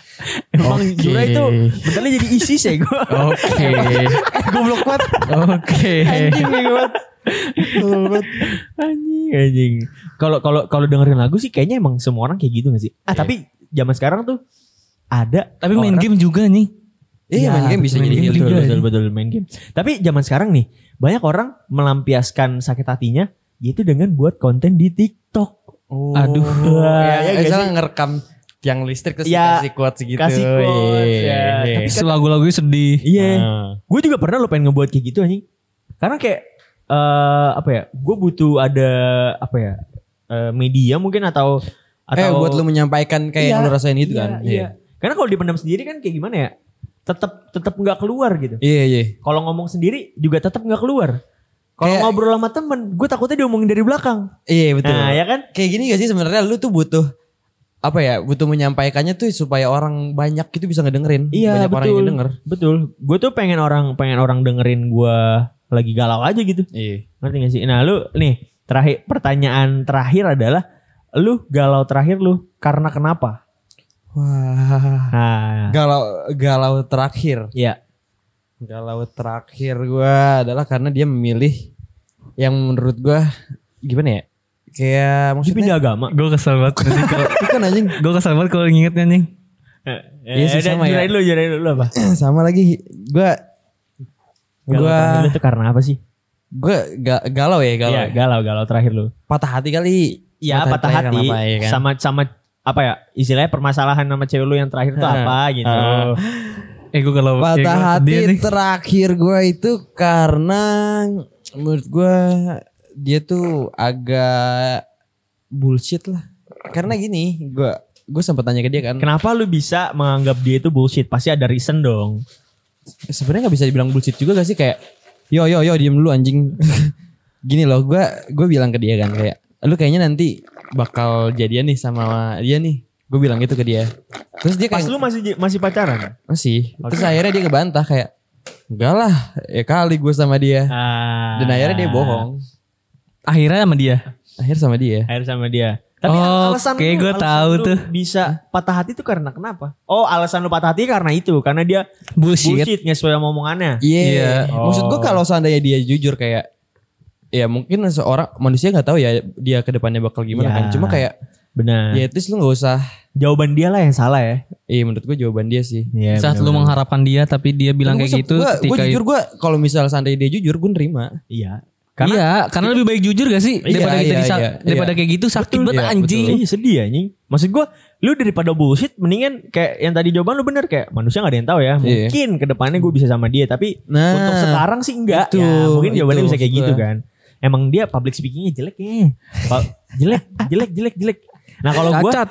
[SPEAKER 2] Emang
[SPEAKER 1] Oke.
[SPEAKER 2] Jura itu bentarnya jadi ISIS ya gue.
[SPEAKER 1] Oke.
[SPEAKER 3] Eh, Goblok banget.
[SPEAKER 1] Oke.
[SPEAKER 2] Anjing nih gue. Anjing, anjing. Kalau kalau kalau dengerin lagu sih kayaknya emang semua orang kayak gitu gak sih? Ah, tapi zaman sekarang tuh ada
[SPEAKER 1] Tapi main game
[SPEAKER 2] orang-
[SPEAKER 1] juga nih.
[SPEAKER 3] Iya
[SPEAKER 2] Ya,
[SPEAKER 3] main game bisa
[SPEAKER 1] main
[SPEAKER 3] jadi
[SPEAKER 1] game
[SPEAKER 3] gitu.
[SPEAKER 2] betul,
[SPEAKER 1] juga.
[SPEAKER 2] betul, betul, main game. Tapi zaman sekarang nih banyak orang melampiaskan sakit hatinya yaitu dengan buat konten di TikTok.
[SPEAKER 3] Oh.
[SPEAKER 1] Aduh.
[SPEAKER 3] Ya,
[SPEAKER 2] Iya
[SPEAKER 3] ya,
[SPEAKER 2] nggak
[SPEAKER 3] misalnya ngerekam tiang listrik terus
[SPEAKER 2] Ya,
[SPEAKER 3] kasih kuat segitu.
[SPEAKER 2] kasih quotes,
[SPEAKER 3] Iya.
[SPEAKER 2] ya. Tapi kan-
[SPEAKER 1] Lagu-lagunya sedih.
[SPEAKER 2] Iya.
[SPEAKER 3] Ah.
[SPEAKER 2] Gue juga pernah lo pengen ngebuat kayak gitu anjing. Karena kayak eh apa ya? Gue butuh ada apa ya? eh, media mungkin atau atau
[SPEAKER 3] eh buat lu menyampaikan kayak
[SPEAKER 2] Iya,
[SPEAKER 3] yang lu rasain itu
[SPEAKER 2] Iya,
[SPEAKER 3] kan.
[SPEAKER 2] Iya. Karena kalau dipendam sendiri kan kayak gimana ya? Tetap tetap nggak keluar gitu.
[SPEAKER 3] Iya iya.
[SPEAKER 2] Kalau ngomong sendiri juga tetap nggak keluar. Kalau
[SPEAKER 3] Kayak-
[SPEAKER 2] ngobrol sama temen, gue takutnya diomongin dari belakang.
[SPEAKER 3] Iya betul.
[SPEAKER 2] Nah ya kan?
[SPEAKER 3] Kayak gini gak sih sebenarnya lu tuh butuh apa ya butuh menyampaikannya tuh supaya orang banyak itu bisa ngedengerin
[SPEAKER 2] Iya
[SPEAKER 3] banyak orang yang
[SPEAKER 2] betul.
[SPEAKER 3] denger
[SPEAKER 2] Betul. Gue tuh pengen orang pengen orang dengerin gue lagi galau aja gitu.
[SPEAKER 3] iya
[SPEAKER 2] Ngerti gak sih? Nah lu nih terakhir pertanyaan terakhir adalah lu galau terakhir lu karena kenapa?
[SPEAKER 3] wah
[SPEAKER 2] Nah,
[SPEAKER 3] galau galau terakhir
[SPEAKER 2] ya
[SPEAKER 3] galau terakhir gua adalah karena dia memilih yang menurut gua gimana ya kayak maksudnya
[SPEAKER 2] pindah agama.
[SPEAKER 1] Gue kesel banget.
[SPEAKER 3] bukan anjing
[SPEAKER 1] Gue kesel banget kalau ngingetnya nih.
[SPEAKER 2] Iya
[SPEAKER 3] sih, sama ya.
[SPEAKER 2] Jurain lu, jurain lu, lu apa?
[SPEAKER 3] sama lagi gua
[SPEAKER 2] Galau terakhir
[SPEAKER 3] gua
[SPEAKER 2] lu tuh karena apa sih?
[SPEAKER 3] gua ga- galau ya galau
[SPEAKER 2] Iya, galau, galau terakhir lu.
[SPEAKER 3] patah hati kali
[SPEAKER 2] Iya, patah
[SPEAKER 3] terakhir
[SPEAKER 2] hati
[SPEAKER 3] kenapa, iya kan?
[SPEAKER 2] sama sama apa ya? Istilahnya permasalahan sama cewek lu yang terakhir tuh
[SPEAKER 3] Heeh.
[SPEAKER 2] apa gitu.
[SPEAKER 3] Heeh.
[SPEAKER 1] Eh gue kalau
[SPEAKER 3] Patah hati terakhir gue itu karena menurut gue dia tuh agak bullshit lah. Karena gini, gue gue sempat tanya ke dia kan.
[SPEAKER 2] Kenapa lu bisa menganggap dia itu bullshit? Pasti ada reason dong.
[SPEAKER 3] Sebenarnya nggak bisa dibilang bullshit juga gak sih kayak yo yo yo diem dulu anjing. gini loh, gue gue bilang ke dia kan kayak lu kayaknya nanti bakal jadian nih sama dia nih. Gue bilang gitu ke dia. Terus dia
[SPEAKER 2] Pas
[SPEAKER 3] kayak
[SPEAKER 2] lu masih masih pacaran?
[SPEAKER 3] masih. Terus akhirnya dia ngebantah kayak enggak lah, ya kali gue sama dia.
[SPEAKER 2] Ah.
[SPEAKER 3] Dan akhirnya dia bohong.
[SPEAKER 1] Akhirnya sama dia.
[SPEAKER 3] akhir sama dia
[SPEAKER 2] Akhir sama dia. kan
[SPEAKER 1] Oh, oke,
[SPEAKER 2] lu-
[SPEAKER 1] gua tahu
[SPEAKER 2] lu
[SPEAKER 1] tuh.
[SPEAKER 2] Bisa patah hati tuh karena kenapa? Oh, alasan lu patah hati karena itu, karena dia
[SPEAKER 1] Bullshit.
[SPEAKER 2] bullshit nggak sesuai sama omongannya.
[SPEAKER 3] iya
[SPEAKER 1] Iya.
[SPEAKER 3] maksud gua
[SPEAKER 2] Oh.
[SPEAKER 3] kalau seandainya dia jujur kayak ya mungkin seorang manusia nggak tahu ya dia kedepannya bakal gimana
[SPEAKER 2] Ya.
[SPEAKER 3] kan cuma kayak
[SPEAKER 2] Benar.
[SPEAKER 3] ya at least lu nggak usah
[SPEAKER 2] Jawaban dia lah yang salah ya.
[SPEAKER 3] iya menurut gua jawaban dia sih
[SPEAKER 2] Iya.
[SPEAKER 1] Saat lu mengharapkan dia tapi dia bilang
[SPEAKER 3] Tapi
[SPEAKER 1] kayak
[SPEAKER 3] maksud
[SPEAKER 1] gitu
[SPEAKER 3] gua, gua
[SPEAKER 1] ketika
[SPEAKER 3] jujur gua kalau misal seandainya dia jujur gua nerima
[SPEAKER 2] Iya. Karena
[SPEAKER 1] iya, karena lebih baik jujur gak sih
[SPEAKER 3] Iya,
[SPEAKER 1] daripada kita
[SPEAKER 3] iya,
[SPEAKER 1] disa-
[SPEAKER 3] iya,
[SPEAKER 1] daripada
[SPEAKER 3] iya.
[SPEAKER 1] kayak gitu sakit
[SPEAKER 3] Betul,
[SPEAKER 1] banget
[SPEAKER 3] iya,
[SPEAKER 1] anjing.
[SPEAKER 2] Iya sedih ya anjing. Maksud gua lu daripada bullshit mendingan kayak yang tadi jawaban lu bener kayak manusia nggak ada yang tahu ya. Mungkin kedepannya gue bisa sama dia tapi
[SPEAKER 3] Nah,
[SPEAKER 2] untuk sekarang sih enggak.
[SPEAKER 3] itu,
[SPEAKER 2] ya, mungkin jawabannya
[SPEAKER 3] itu
[SPEAKER 2] bisa kayak
[SPEAKER 3] maksud
[SPEAKER 2] gitu
[SPEAKER 3] gua.
[SPEAKER 2] kan. Emang dia public speakingnya jelek ya. Pa- jelek, jelek, jelek, jelek. Nah kalau gua
[SPEAKER 1] Cacat.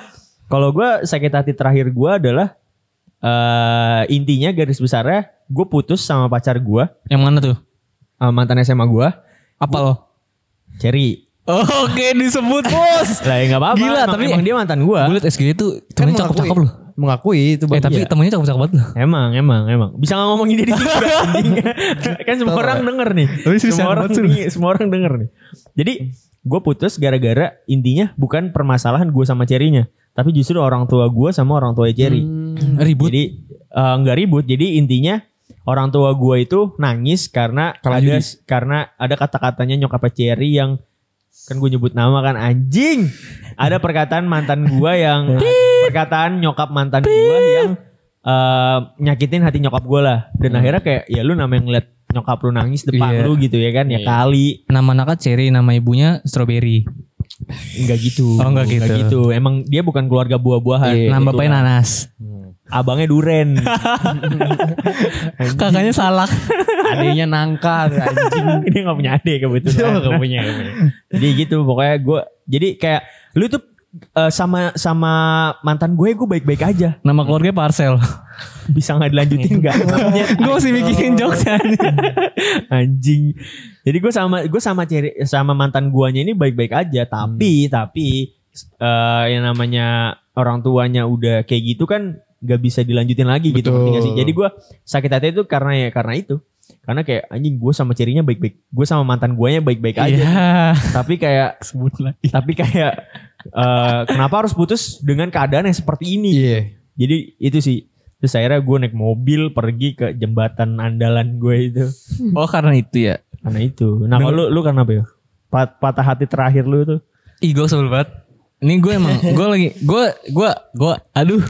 [SPEAKER 2] kalau gua sakit hati terakhir gua adalah eh intinya garis besarnya gue putus sama pacar gua
[SPEAKER 1] Yang mana tuh?
[SPEAKER 2] eh, mantan SMA gua
[SPEAKER 1] Apa lo?
[SPEAKER 2] Cherry.
[SPEAKER 1] Oke disebut bos.
[SPEAKER 2] Lah ya nggak apa-apa.
[SPEAKER 1] Gila,
[SPEAKER 2] emang-
[SPEAKER 1] tapi-
[SPEAKER 2] emang dia mantan gua
[SPEAKER 1] Bulat SG itu temennya
[SPEAKER 3] Kan mengakui-
[SPEAKER 1] cakep-cakep loh.
[SPEAKER 3] mengakui itu
[SPEAKER 1] Eh
[SPEAKER 3] Bang.
[SPEAKER 1] tapi
[SPEAKER 3] Iya.
[SPEAKER 1] temennya cakep-cakep banget loh.
[SPEAKER 2] Emang, emang, emang. Bisa gak ngomongin diri sendiri nggak, anjing? kan semua
[SPEAKER 3] Tolong
[SPEAKER 2] orang
[SPEAKER 3] ya.
[SPEAKER 2] denger nih.
[SPEAKER 1] Tapi serius
[SPEAKER 2] semua
[SPEAKER 1] banget
[SPEAKER 2] orang
[SPEAKER 1] sih.
[SPEAKER 2] denger- semua orang denger nih. Jadi gue putus gara-gara intinya bukan permasalahan gue sama Cherry-nya, tapi justru orang tua gue sama orang tua Cherry.
[SPEAKER 3] Hmm.
[SPEAKER 1] Ribut.
[SPEAKER 2] Jadi eh, nggak ribut. Jadi intinya orang tua gue itu nangis karena
[SPEAKER 3] Kalah
[SPEAKER 2] ada
[SPEAKER 3] judi.
[SPEAKER 2] karena ada kata-katanya nyokap Cherry yang kan gue nyebut nama kan anjing. Ada perkataan mantan gue yang perkataan nyokap mantan gue yang eh, nyakitin hati nyokap gue lah. Dan akhirnya kayak ya lu namanya ngeliat nyokap lu nangis depan
[SPEAKER 1] Hmm. Iya.
[SPEAKER 2] lu gitu ya kan ya kali
[SPEAKER 1] Nama anaknya Cherry, nama ibunya Strawberry.
[SPEAKER 2] nggak gitu.
[SPEAKER 1] Oh, nggak gitu.
[SPEAKER 2] Emang dia bukan keluarga buah-buahan.
[SPEAKER 3] Iya,
[SPEAKER 1] Nama bapaknya Nanas.
[SPEAKER 2] Abangnya Duren.
[SPEAKER 1] Kakaknya Salak.
[SPEAKER 3] adanya nangka anjing
[SPEAKER 2] dia nggak punya adik kebetulan.
[SPEAKER 3] Gak punya
[SPEAKER 2] jadi gitu pokoknya gue jadi kayak lu tuh eh, sama sama mantan gue gue baik baik aja
[SPEAKER 1] Nama keluarganya Parcel.
[SPEAKER 2] bisa nggak dilanjutin nggak Namanya
[SPEAKER 1] gue masih mikirin jokesnya.
[SPEAKER 2] anjing jadi gue sama gue sama ceri sama mantan guanya ini baik baik aja tapi tapi eh, yang namanya orang tuanya udah kayak gitu kan nggak bisa dilanjutin lagi gitu
[SPEAKER 3] Betul.
[SPEAKER 2] ngerti nggak sih jadi gue sakit hati itu karena ya karena itu Karena kayak anjing gue sama cirinya baik-baik. Gue sama mantan guanya baik-baik aja.
[SPEAKER 1] Iya.
[SPEAKER 2] Tapi kayak
[SPEAKER 1] Sebut lagi.
[SPEAKER 2] tapi kayak eh, kenapa harus putus dengan keadaan yang seperti ini?
[SPEAKER 3] Iya.
[SPEAKER 2] Jadi itu sih. Terus akhirnya gue naik mobil pergi ke jembatan andalan gue itu.
[SPEAKER 1] Oh karena itu ya.
[SPEAKER 2] Karena itu. Nah kalau lu, lu karena apa ya? Pa- patah hati terakhir lu itu.
[SPEAKER 1] Ih gue sebel banget. Ini gue emang gue lagi gue gue gue aduh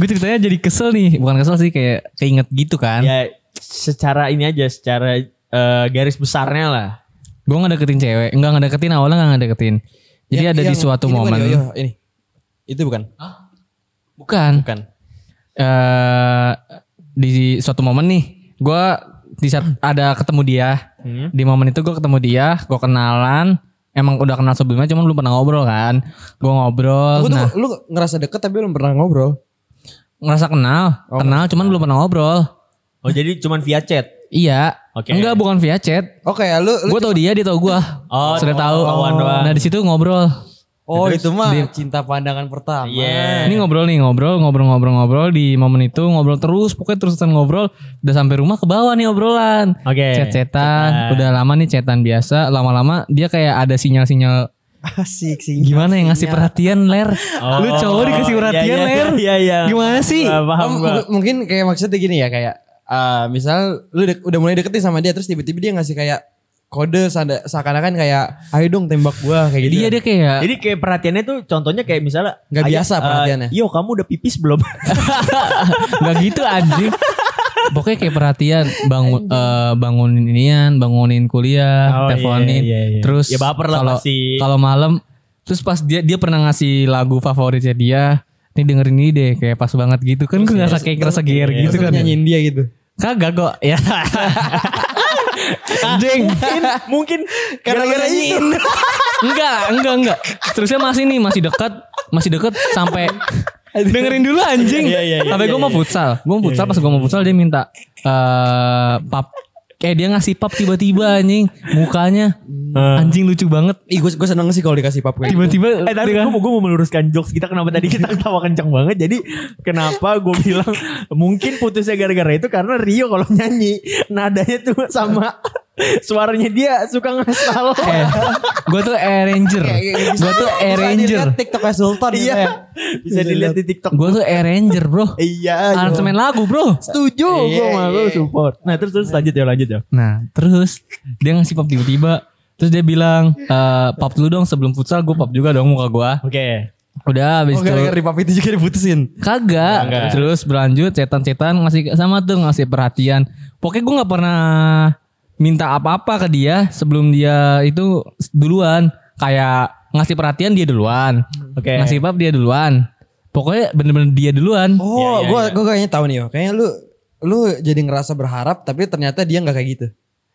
[SPEAKER 1] gue ceritanya jadi kesel nih bukan kesel sih kayak keinget gitu kan.
[SPEAKER 2] Ya secara ini aja. Secara eh, garis besarnya lah.
[SPEAKER 1] Gue nggak deketin cewek, nggak nggak deketin awalnya nggak nggak deketin. Jadi
[SPEAKER 3] Yang-
[SPEAKER 1] ada di
[SPEAKER 3] yang-
[SPEAKER 1] suatu
[SPEAKER 3] ini bukan
[SPEAKER 1] momen.
[SPEAKER 3] yoyo, ini. Itu bukan.
[SPEAKER 1] Bukan.
[SPEAKER 3] Bukan.
[SPEAKER 1] eh di suatu momen nih, gue di saat ada ketemu dia.
[SPEAKER 2] Hmm.
[SPEAKER 1] Di momen itu gue ketemu dia, gue kenalan. Emang udah kenal sebelumnya, cuman belum pernah ngobrol kan. Gue ngobrol,
[SPEAKER 3] Aku tuh
[SPEAKER 1] nah
[SPEAKER 3] lu ngerasa deket tapi belum pernah ngobrol.
[SPEAKER 1] ngerasa kenal, kenal, cuman belum pernah ngobrol.
[SPEAKER 2] Oh jadi cuman via chat.
[SPEAKER 1] Iya,
[SPEAKER 2] Oke.
[SPEAKER 1] enggak bukan via chat.
[SPEAKER 3] Oh kayak lu, lu
[SPEAKER 1] Gue tau dia, dia tau gue.
[SPEAKER 2] Oh,
[SPEAKER 1] Sudah tahu.
[SPEAKER 2] tahuan doang.
[SPEAKER 1] Nah di situ ngobrol.
[SPEAKER 3] Oh itu mah cinta pandangan pertama.
[SPEAKER 2] Iya.
[SPEAKER 1] Ini ngobrol nih, ngobrol, ngobrol, ngobrol, ngobrol di momen itu ngobrol terus, pokoknya terusan ngobrol. Udah sampai rumah ke bawah nih obrolan.
[SPEAKER 2] Oke.
[SPEAKER 1] Cet-cetan, udah lama nih cetan biasa, lama-lama dia kayak ada sinyal-sinyal
[SPEAKER 3] Asik sih.
[SPEAKER 1] gimana ya ngasih perhatian ler. Lu cowok dikasih
[SPEAKER 2] iya,
[SPEAKER 1] perhatian
[SPEAKER 2] iya,
[SPEAKER 1] ler.
[SPEAKER 2] iya, iya.
[SPEAKER 1] Gimana sih?
[SPEAKER 2] Gua paham
[SPEAKER 3] Oh,
[SPEAKER 2] gua.
[SPEAKER 3] m- mungkin kayak maksudnya gini ya kayak eh, misal lu dek- udah mulai deket nih sama dia terus tiba-tiba dia ngasih kayak kode seada- seakan-akan kayak ayo dong tembak gua kayak gitu.
[SPEAKER 1] Dia dia kayak
[SPEAKER 2] Jadi kayak perhatiannya tuh contohnya kayak misalnya
[SPEAKER 3] Nggak
[SPEAKER 2] "Ayo,
[SPEAKER 3] biasa
[SPEAKER 2] eh,
[SPEAKER 3] perhatiannya."
[SPEAKER 2] yo kamu udah pipis belum?
[SPEAKER 1] nggak gitu anjing. Pokoknya kayak perhatian bangun eh, bangunin inian, bangunin kuliah,
[SPEAKER 2] Oh,
[SPEAKER 1] teleponin.
[SPEAKER 2] iya, iya, iya.
[SPEAKER 1] Terus
[SPEAKER 2] Ya, baper lah
[SPEAKER 1] kalau
[SPEAKER 2] pasti.
[SPEAKER 1] kalau malam terus pas dia dia pernah ngasih lagu favoritnya dia. Nih dengerin ini deh kayak pas banget gitu kan
[SPEAKER 2] ya,
[SPEAKER 1] gue ngerasa kayak ngerasa gear
[SPEAKER 3] Terus
[SPEAKER 1] gitu
[SPEAKER 3] lu
[SPEAKER 1] kan.
[SPEAKER 3] nyanyiin dia gitu.
[SPEAKER 1] Kagak kok ya. Anjing.
[SPEAKER 2] Mungkin
[SPEAKER 3] Karena lu
[SPEAKER 2] gara-gara
[SPEAKER 3] nyanyiin.
[SPEAKER 2] ini.
[SPEAKER 1] Enggak, enggak, enggak. Terusnya masih nih, masih dekat, masih dekat sampai dengerin dulu anjing.
[SPEAKER 2] Iya, iya, iya,
[SPEAKER 1] sampai
[SPEAKER 2] iya,
[SPEAKER 1] gue mau
[SPEAKER 2] iya.
[SPEAKER 1] futsal. Gue mau futsal pas gue mau futsal dia minta eh pap kayak dia ngasih pap tiba-tiba anjing mukanya. Anjing lucu banget.
[SPEAKER 3] Ih gue gue seneng sih kalau dikasih pap kayak gitu.
[SPEAKER 1] Tiba-tiba
[SPEAKER 2] Eh tadi gue mau, gua mau meluruskan jokes kita kenapa tadi kita ketawa kencang banget. Jadi kenapa gue bilang mungkin putusnya gara-gara itu karena Rio kalau nyanyi nadanya tuh sama suaranya dia suka ngasal.
[SPEAKER 1] eh, gue tuh Air Ranger.
[SPEAKER 3] Iya,
[SPEAKER 1] Gue tuh Air Ranger.
[SPEAKER 3] gitu. TikTok Sultan gitu ya.
[SPEAKER 2] Iya. Bisa dilihat di TikTok.
[SPEAKER 1] Gue tuh Air Ranger, Bro.
[SPEAKER 2] Iya.
[SPEAKER 1] Aransemen lagu, Bro.
[SPEAKER 2] Setuju gue malu support. Nah terus terus lanjut ya lanjut ya.
[SPEAKER 1] Nah terus dia ngasih pap tiba-tiba Terus dia bilang eh Pap dulu dong sebelum futsal gue pap juga dong muka gue
[SPEAKER 2] Oke.
[SPEAKER 1] Udah habis
[SPEAKER 3] Oh
[SPEAKER 1] itu
[SPEAKER 3] gara-gara di pap itu juga diputusin.
[SPEAKER 1] Kagak
[SPEAKER 2] Enggak.
[SPEAKER 1] Terus berlanjut cetan-cetan ngasih sama tuh ngasih perhatian Pokoknya gue gak pernah minta apa-apa ke dia Sebelum dia itu duluan Kayak ngasih perhatian dia duluan
[SPEAKER 2] Oke.
[SPEAKER 1] Ngasih pap dia duluan Pokoknya bener-bener dia duluan
[SPEAKER 3] Oh, gue gue kayaknya tahu nih yo. Kayaknya lu lu jadi ngerasa berharap tapi ternyata dia nggak kayak gitu.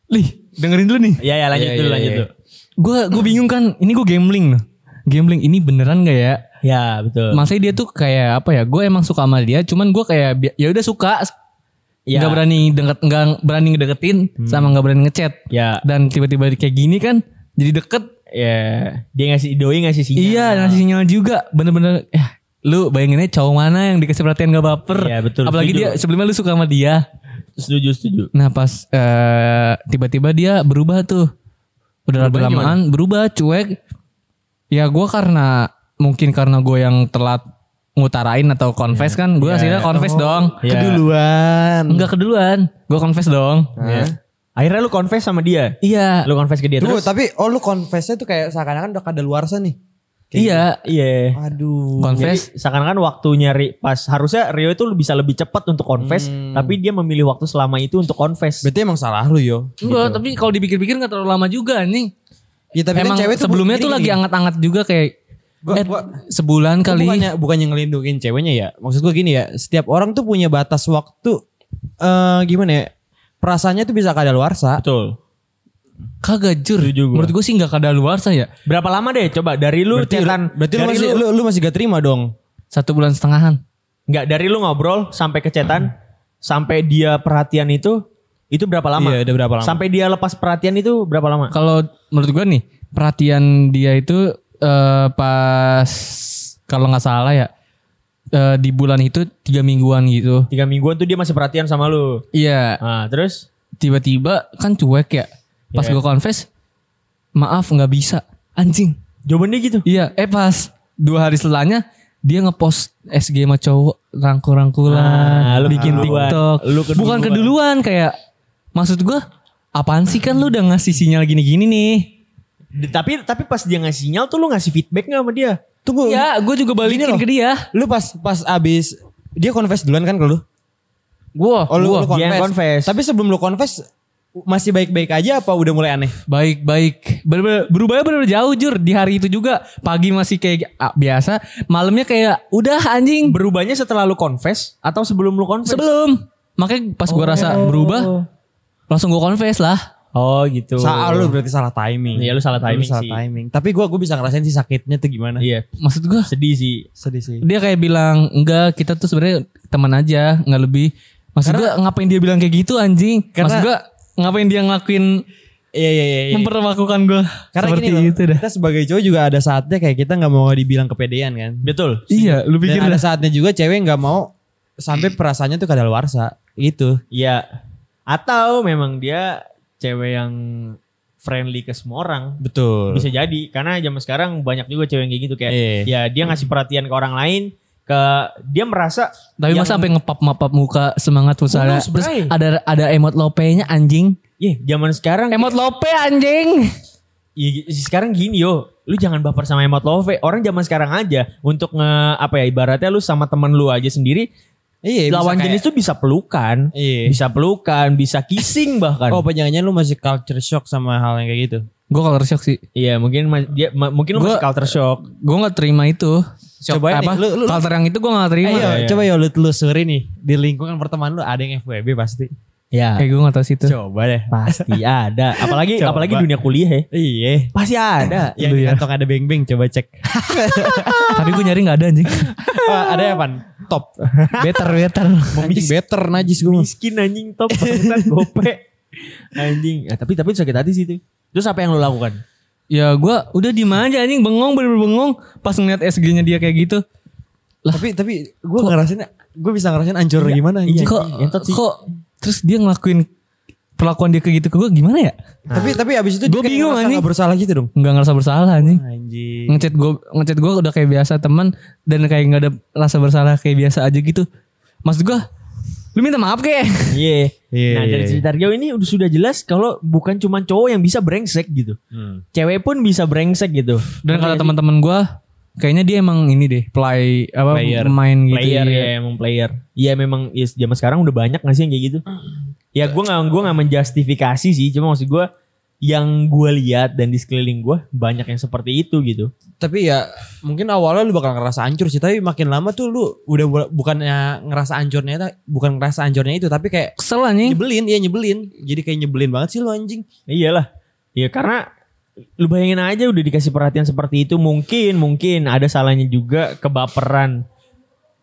[SPEAKER 1] Lih dengerin dulu nih
[SPEAKER 2] Iya ya lanjut
[SPEAKER 3] Iya,
[SPEAKER 2] dulu
[SPEAKER 3] iya,
[SPEAKER 2] lanjut
[SPEAKER 3] iya.
[SPEAKER 2] dulu.
[SPEAKER 1] Gue gua bingung kan ini gue gambling loh. Gambling ini beneran gak ya
[SPEAKER 2] Ya betul.
[SPEAKER 1] Maksudnya dia tuh kayak apa ya? Gue emang suka sama dia, cuman gue kayak bi- ya udah suka,
[SPEAKER 2] Ya.
[SPEAKER 1] nggak berani deket, nggak berani ngedeketin,
[SPEAKER 2] Hmm.
[SPEAKER 1] sama nggak berani ngechat.
[SPEAKER 2] Ya,
[SPEAKER 1] Dan tiba-tiba kayak gini kan, jadi deket.
[SPEAKER 2] ya dia ngasih doi ngasih sinyal.
[SPEAKER 1] Iya, ngasih sinyal juga, bener-bener. Eh, lu bayanginnya cowok mana yang dikasih perhatian gak baper?
[SPEAKER 2] Iya, betul,
[SPEAKER 1] Apalagi
[SPEAKER 2] setuju.
[SPEAKER 1] dia sebelumnya lu suka sama dia.
[SPEAKER 2] Setuju setuju.
[SPEAKER 1] Nah pas eh, tiba-tiba dia berubah tuh. Udah lama lamaan berubah cuek. Ya gue karena mungkin karena gue yang telat ngutarain atau confess kan. Gue hasilnya confess dong.
[SPEAKER 2] Iya.
[SPEAKER 3] Keduluan.
[SPEAKER 1] Enggak keduluan. Gue confess dong.
[SPEAKER 2] Iya. Akhirnya lu confess sama dia.
[SPEAKER 1] Iya.
[SPEAKER 2] Lu confess ke dia
[SPEAKER 3] Tunggu,
[SPEAKER 2] terus.
[SPEAKER 3] tapi oh lu confessnya tuh kayak seakan-akan udah kada luar nih.
[SPEAKER 1] Iya.
[SPEAKER 2] Iya.
[SPEAKER 3] Aduh.
[SPEAKER 1] Confess.
[SPEAKER 2] Jadi seakan-akan waktu nyari pas harusnya Rio itu bisa lebih cepat untuk confess,
[SPEAKER 3] Hmm.
[SPEAKER 2] tapi dia memilih waktu selama itu untuk confess.
[SPEAKER 3] Berarti emang salah lu yo.
[SPEAKER 1] Enggak tapi kalau dipikir-pikir gak terlalu lama juga nih.
[SPEAKER 3] Ya, tapi
[SPEAKER 1] Emang sebelumnya tuh lagi anget-anget juga kayak.
[SPEAKER 3] Gua-
[SPEAKER 1] eh,
[SPEAKER 3] gua-
[SPEAKER 1] sebulan
[SPEAKER 3] kali.
[SPEAKER 1] kali.
[SPEAKER 3] Bukannya, bukannya ngelindungin ceweknya ya. Maksud gue gini ya. Setiap orang tuh punya batas waktu. eh gimana ya. Perasaannya tuh bisa kada luar
[SPEAKER 2] Betul.
[SPEAKER 1] Kagak jur.
[SPEAKER 2] Setuju gua.
[SPEAKER 1] Menurut gue sih ya. gak kada luar saya.
[SPEAKER 2] Berapa lama deh coba dari lu
[SPEAKER 3] Berarti,
[SPEAKER 2] chatan-
[SPEAKER 3] berarti lu
[SPEAKER 2] dari
[SPEAKER 3] masih, lu, lu masih gak terima dong.
[SPEAKER 1] Satu bulan setengahan.
[SPEAKER 2] enggak dari lu ngobrol sampai ke chatan, sampai dia perhatian itu itu berapa lama?
[SPEAKER 3] Iya, udah berapa lama.
[SPEAKER 2] Sampai dia lepas perhatian itu berapa lama?
[SPEAKER 1] kalau menurut gua nih perhatian dia itu eh, pas kalau nggak salah ya eh, di bulan itu tiga mingguan gitu
[SPEAKER 2] Tiga mingguan tuh dia masih perhatian sama lu.
[SPEAKER 1] iya
[SPEAKER 2] Nah, terus
[SPEAKER 1] tiba-tiba kan cuek ya. Pas
[SPEAKER 2] Iya.
[SPEAKER 1] gue confess, maaf nggak bisa, anjing.
[SPEAKER 2] Jawabannya gitu.
[SPEAKER 1] Iya, eh pas dua hari setelahnya dia ngepost SG sama cowok
[SPEAKER 2] Ah,
[SPEAKER 1] rangkul-rangkulan,
[SPEAKER 2] lu
[SPEAKER 1] bikin
[SPEAKER 2] keduluan.
[SPEAKER 1] TikTok.
[SPEAKER 2] Lu keduluan.
[SPEAKER 1] Bukan keduluan kayak maksud gua apaan sih kan lu udah ngasih sinyal gini-gini nih.
[SPEAKER 2] D- Tapi tapi pas dia ngasih sinyal tuh lu ngasih feedback gak sama dia?
[SPEAKER 3] Tunggu.
[SPEAKER 1] Ya,
[SPEAKER 2] Iya,
[SPEAKER 1] gue juga balikin
[SPEAKER 3] loh.
[SPEAKER 1] ke dia.
[SPEAKER 3] Iya. Lu pas pas abis dia confess duluan kan ke lu?
[SPEAKER 1] Gua,
[SPEAKER 3] Oh lu,
[SPEAKER 1] gua.
[SPEAKER 3] lu
[SPEAKER 2] dia
[SPEAKER 3] confess.
[SPEAKER 2] yang confess.
[SPEAKER 3] Tapi sebelum lu confess masih baik-baik aja apa udah mulai aneh?
[SPEAKER 1] Baik, baik. Bener-bener, berubahnya bener-bener jauh jur. Di hari itu juga. Pagi masih kayak ah, biasa. Malamnya kayak udah anjing.
[SPEAKER 2] Berubahnya setelah lu confess atau sebelum lu confess?
[SPEAKER 1] Sebelum. Makanya pas gua rasa berubah. Langsung gua confess lah.
[SPEAKER 2] Oh gitu.
[SPEAKER 3] Salah lu berarti salah timing.
[SPEAKER 2] Iya, lu salah timing
[SPEAKER 3] salah
[SPEAKER 2] sih.
[SPEAKER 3] timing. Tapi gua gua bisa ngerasain sih sakitnya tuh gimana.
[SPEAKER 2] Iya.
[SPEAKER 1] Maksud gua
[SPEAKER 2] Sedih sih.
[SPEAKER 3] Sedih sih.
[SPEAKER 1] Dia kayak bilang. Enggak kita tuh sebenarnya teman aja. Nggak lebih. Maksud gua ngapain dia bilang kayak gitu anjing. Maksud
[SPEAKER 3] Karena-
[SPEAKER 1] gua ngapain dia ngelakuin.
[SPEAKER 3] Iya iya iya. iya.
[SPEAKER 1] Memperlakukan gua.
[SPEAKER 3] Karena
[SPEAKER 1] seperti
[SPEAKER 3] gini loh,
[SPEAKER 1] itu dah.
[SPEAKER 3] kita sebagai cowok juga ada saatnya kayak kita nggak mau dibilang kepedean kan.
[SPEAKER 2] Betul.
[SPEAKER 1] Iya lu pikir
[SPEAKER 3] Dan ada
[SPEAKER 1] dah.
[SPEAKER 3] saatnya juga cewek nggak mau sampai perasaannya tuh kadaluarsa gitu.
[SPEAKER 2] Iya. Atau memang dia cewek yang friendly ke semua orang.
[SPEAKER 3] Betul.
[SPEAKER 2] Bisa jadi karena zaman sekarang banyak juga cewek yang kayak gitu kayak
[SPEAKER 3] Iya.
[SPEAKER 2] ya dia ngasih perhatian ke orang lain ke dia merasa
[SPEAKER 1] Tapi
[SPEAKER 2] yang-
[SPEAKER 1] masa sampai ngepap mapap muka semangat misalnya.
[SPEAKER 2] Mulus,
[SPEAKER 1] Terus
[SPEAKER 2] bray.
[SPEAKER 1] ada ada emot lopenya anjing.
[SPEAKER 2] Ih, iya, zaman sekarang
[SPEAKER 1] Emot lope anjing.
[SPEAKER 2] Iya, gi- sekarang gini yo, lu jangan baper sama emot love. Orang zaman sekarang aja untuk nge apa ya ibaratnya lu sama temen lu aja sendiri,
[SPEAKER 3] Iya. bisa
[SPEAKER 2] lawan
[SPEAKER 3] kayak-
[SPEAKER 2] jenis tuh bisa pelukan,
[SPEAKER 3] Iya.
[SPEAKER 2] bisa pelukan, bisa kissing bahkan.
[SPEAKER 3] Oh, apa jangan lu masih culture shock sama hal yang kayak gitu?
[SPEAKER 1] Gue kalau shock sih.
[SPEAKER 2] Iya, mungkin ma- dia, ma- mungkin lu
[SPEAKER 1] Gua-
[SPEAKER 2] masih culture shock.
[SPEAKER 1] Gue nggak terima itu. Shock
[SPEAKER 3] Cobain
[SPEAKER 1] apa?
[SPEAKER 3] nih, lu- lu- lu-
[SPEAKER 1] Culture yang itu gue nggak
[SPEAKER 2] Iya,
[SPEAKER 1] terima.
[SPEAKER 3] Ayo, coba ya lu telusuri nih di lingkungan pertemanan lu ada yang FWB pasti. Iya.
[SPEAKER 1] Eh
[SPEAKER 2] Ya,
[SPEAKER 1] gue nggak tahu situ.
[SPEAKER 3] Coba deh.
[SPEAKER 2] pasti Iya, ada. Apalagi
[SPEAKER 3] Coba.
[SPEAKER 2] apalagi dunia kuliah ya.
[SPEAKER 3] Iya.
[SPEAKER 2] Pasti ada.
[SPEAKER 3] Yang
[SPEAKER 1] Lu
[SPEAKER 3] di
[SPEAKER 1] ya.
[SPEAKER 3] kantong ada beng-beng coba cek.
[SPEAKER 1] Tapi gue nyari nggak ada anjing.
[SPEAKER 3] Oh, ada apa? Top.
[SPEAKER 1] better better.
[SPEAKER 3] Anjing better najis gue.
[SPEAKER 2] Miskin anjing top bangsat gope. Anjing. Ya, tapi tapi sakit hati sih itu. Terus apa yang lu lakukan?
[SPEAKER 1] ya gue udah diem aja anjing bengong bener-bener bengong pas ngeliat SG-nya dia kayak gitu.
[SPEAKER 3] Tapi tapi gue ngerasain gue bisa ngerasain ancur gimana anjing.
[SPEAKER 1] kok
[SPEAKER 2] entot sih.
[SPEAKER 1] kok terus dia ngelakuin perlakuan dia kayak gitu ke gue gimana ya?
[SPEAKER 3] Tapi tapi abis itu
[SPEAKER 1] Gua
[SPEAKER 3] kayak
[SPEAKER 1] bingung,
[SPEAKER 3] ngerasa
[SPEAKER 1] anjing.
[SPEAKER 3] nggak bersalah gitu dong.
[SPEAKER 1] Nggak ngerasa bersalah anjing.
[SPEAKER 3] Anjing.
[SPEAKER 1] ngechat gue ngechat gue udah kayak biasa teman dan kayak nggak ada rasa bersalah kayak biasa aja gitu maksud gue lu minta maaf kayak
[SPEAKER 2] Iya.
[SPEAKER 3] Iya,
[SPEAKER 2] Nah
[SPEAKER 3] iya,
[SPEAKER 2] dari
[SPEAKER 3] iya.
[SPEAKER 2] cerita Rio ini udah sudah jelas kalau bukan cuma cowok yang bisa brengsek gitu.
[SPEAKER 3] Hmm.
[SPEAKER 2] Cewek pun bisa brengsek gitu.
[SPEAKER 1] dan kata teman-teman gue kayaknya dia emang ini deh play apa
[SPEAKER 3] Player.
[SPEAKER 1] main gitu
[SPEAKER 2] player
[SPEAKER 1] Iya.
[SPEAKER 2] ya emang player. Iya memang ya, zaman sekarang udah banyak gak sih yang kayak gitu. Ya gue gak gue gak menjustifikasi sih, cuma maksud gue yang gue lihat dan di sekeliling gue banyak yang seperti itu gitu.
[SPEAKER 3] Tapi ya mungkin awalnya lu bakal ngerasa hancur sih, tapi makin lama tuh lu udah bu- bukannya ngerasa hancurnya ta- bukan ngerasa hancurnya itu, tapi kayak
[SPEAKER 1] kesel anjing
[SPEAKER 3] nyebelin, ya nyebelin. Jadi kayak nyebelin banget sih lu anjing.
[SPEAKER 2] Iyalah. Ya karena lu bayangin aja udah dikasih perhatian seperti itu mungkin mungkin ada salahnya juga kebaperan.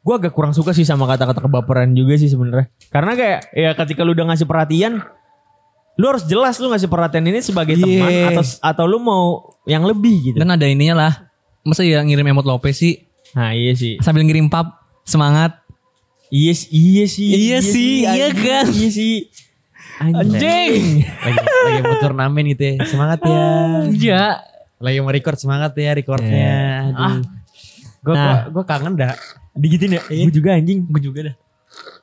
[SPEAKER 2] Gue agak kurang suka sih sama kata-kata kebaperan juga sih sebenarnya. Karena kayak ya ketika lu udah ngasih perhatian lu harus jelas lu ngasih perhatian ini sebagai
[SPEAKER 3] Iya.
[SPEAKER 2] teman atau atau lu mau yang lebih gitu.
[SPEAKER 1] dan ada ininya lah masa ya ngirim emot lope sih
[SPEAKER 2] Nah, iya sih.
[SPEAKER 1] sambil ngirim pap semangat
[SPEAKER 2] Iya sih, iya sih.
[SPEAKER 1] Iya sih, iya
[SPEAKER 2] anjing,
[SPEAKER 1] kan?
[SPEAKER 2] Iya sih.
[SPEAKER 1] anjing
[SPEAKER 3] Lagi lagi mau turnamen gitu ya. Semangat ya.
[SPEAKER 1] ya
[SPEAKER 3] Lagi mau record semangat ya recordnya. Aduh. Ah. Gua,
[SPEAKER 2] Nah.
[SPEAKER 3] gua, gua kangen dah.
[SPEAKER 2] Digitin ya? Gue juga anjing. Gue juga dah.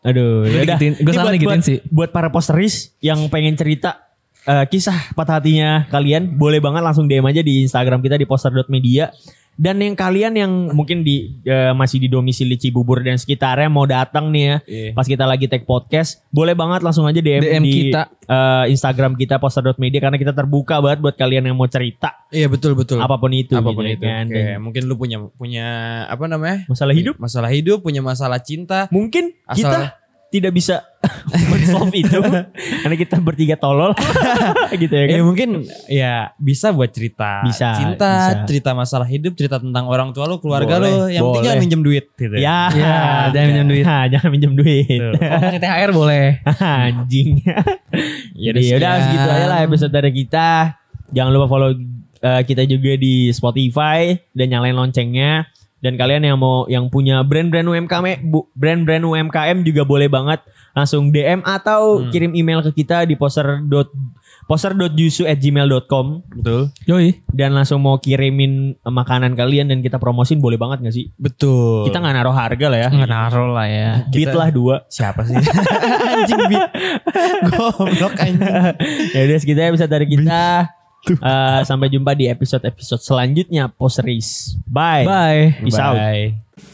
[SPEAKER 2] Aduh,
[SPEAKER 1] Gua
[SPEAKER 2] yaudah.
[SPEAKER 1] digitin- gua
[SPEAKER 2] Ini
[SPEAKER 1] salah
[SPEAKER 2] buat-
[SPEAKER 1] digitin
[SPEAKER 2] buat-
[SPEAKER 1] sih.
[SPEAKER 2] Buat para posteris yang pengen cerita eh, kisah patah hatinya kalian, boleh banget langsung DM aja di Instagram kita di poster.media. Dan yang kalian yang mungkin di eh, masih di domisili Cibubur dan sekitarnya mau datang nih ya,
[SPEAKER 3] Iya.
[SPEAKER 2] pas kita lagi take podcast, boleh banget langsung aja DM,
[SPEAKER 1] DM
[SPEAKER 2] di
[SPEAKER 1] kita.
[SPEAKER 2] eh, Instagram kita poster.media karena kita terbuka banget buat kalian yang mau cerita
[SPEAKER 3] Iya betul betul.
[SPEAKER 2] apapun itu,
[SPEAKER 3] Apapun
[SPEAKER 2] gitu
[SPEAKER 3] itu.
[SPEAKER 2] kan.
[SPEAKER 3] Kayak
[SPEAKER 2] Dan
[SPEAKER 3] mungkin lu punya punya apa namanya?
[SPEAKER 2] masalah hidup
[SPEAKER 3] Masalah hidup, punya masalah cinta.
[SPEAKER 2] mungkin
[SPEAKER 3] Asal-
[SPEAKER 2] kita tidak bisa solve itu karena kita bertiga tolol gitu ya
[SPEAKER 3] Ya
[SPEAKER 2] kan
[SPEAKER 3] mungkin ya bisa buat cerita
[SPEAKER 2] Bisa,
[SPEAKER 3] cinta,
[SPEAKER 2] bisa.
[SPEAKER 3] cerita masalah hidup, cerita tentang orang tua lu, keluarga lu,
[SPEAKER 2] Boleh,
[SPEAKER 3] yang penting
[SPEAKER 2] boleh.
[SPEAKER 3] jangan minjem duit gitu.
[SPEAKER 2] ya,
[SPEAKER 1] Ya, jangan minjem duit.
[SPEAKER 2] Nah, jangan minjem duit
[SPEAKER 1] Kalau pakai THR boleh
[SPEAKER 2] anjing
[SPEAKER 3] Ya
[SPEAKER 2] jadi udah
[SPEAKER 3] sekian.
[SPEAKER 2] segitu aja lah episode dari kita jangan lupa follow eh, kita juga di Spotify dan nyalain loncengnya Dan kalian yang mau yang punya brand-brand UMKM, bu- brand-brand UMKM juga boleh banget langsung DM atau kirim email ke kita di poster dot poster.yusu@gmail.com betul
[SPEAKER 1] Yoi.
[SPEAKER 2] dan langsung mau kirimin eh, makanan kalian dan kita promosin boleh banget gak sih
[SPEAKER 3] Betul.
[SPEAKER 2] kita nggak naruh harga lah ya
[SPEAKER 1] Nggak naruh lah ya.
[SPEAKER 2] beat
[SPEAKER 3] kita-
[SPEAKER 2] lah dua
[SPEAKER 3] siapa sih? anjing bit. Goblok anjing.
[SPEAKER 2] ya udah segitu ya bisa dari kita Eh, sampai jumpa di episode episode selanjutnya post race bye,
[SPEAKER 1] Bye.
[SPEAKER 2] peace out
[SPEAKER 3] Bye.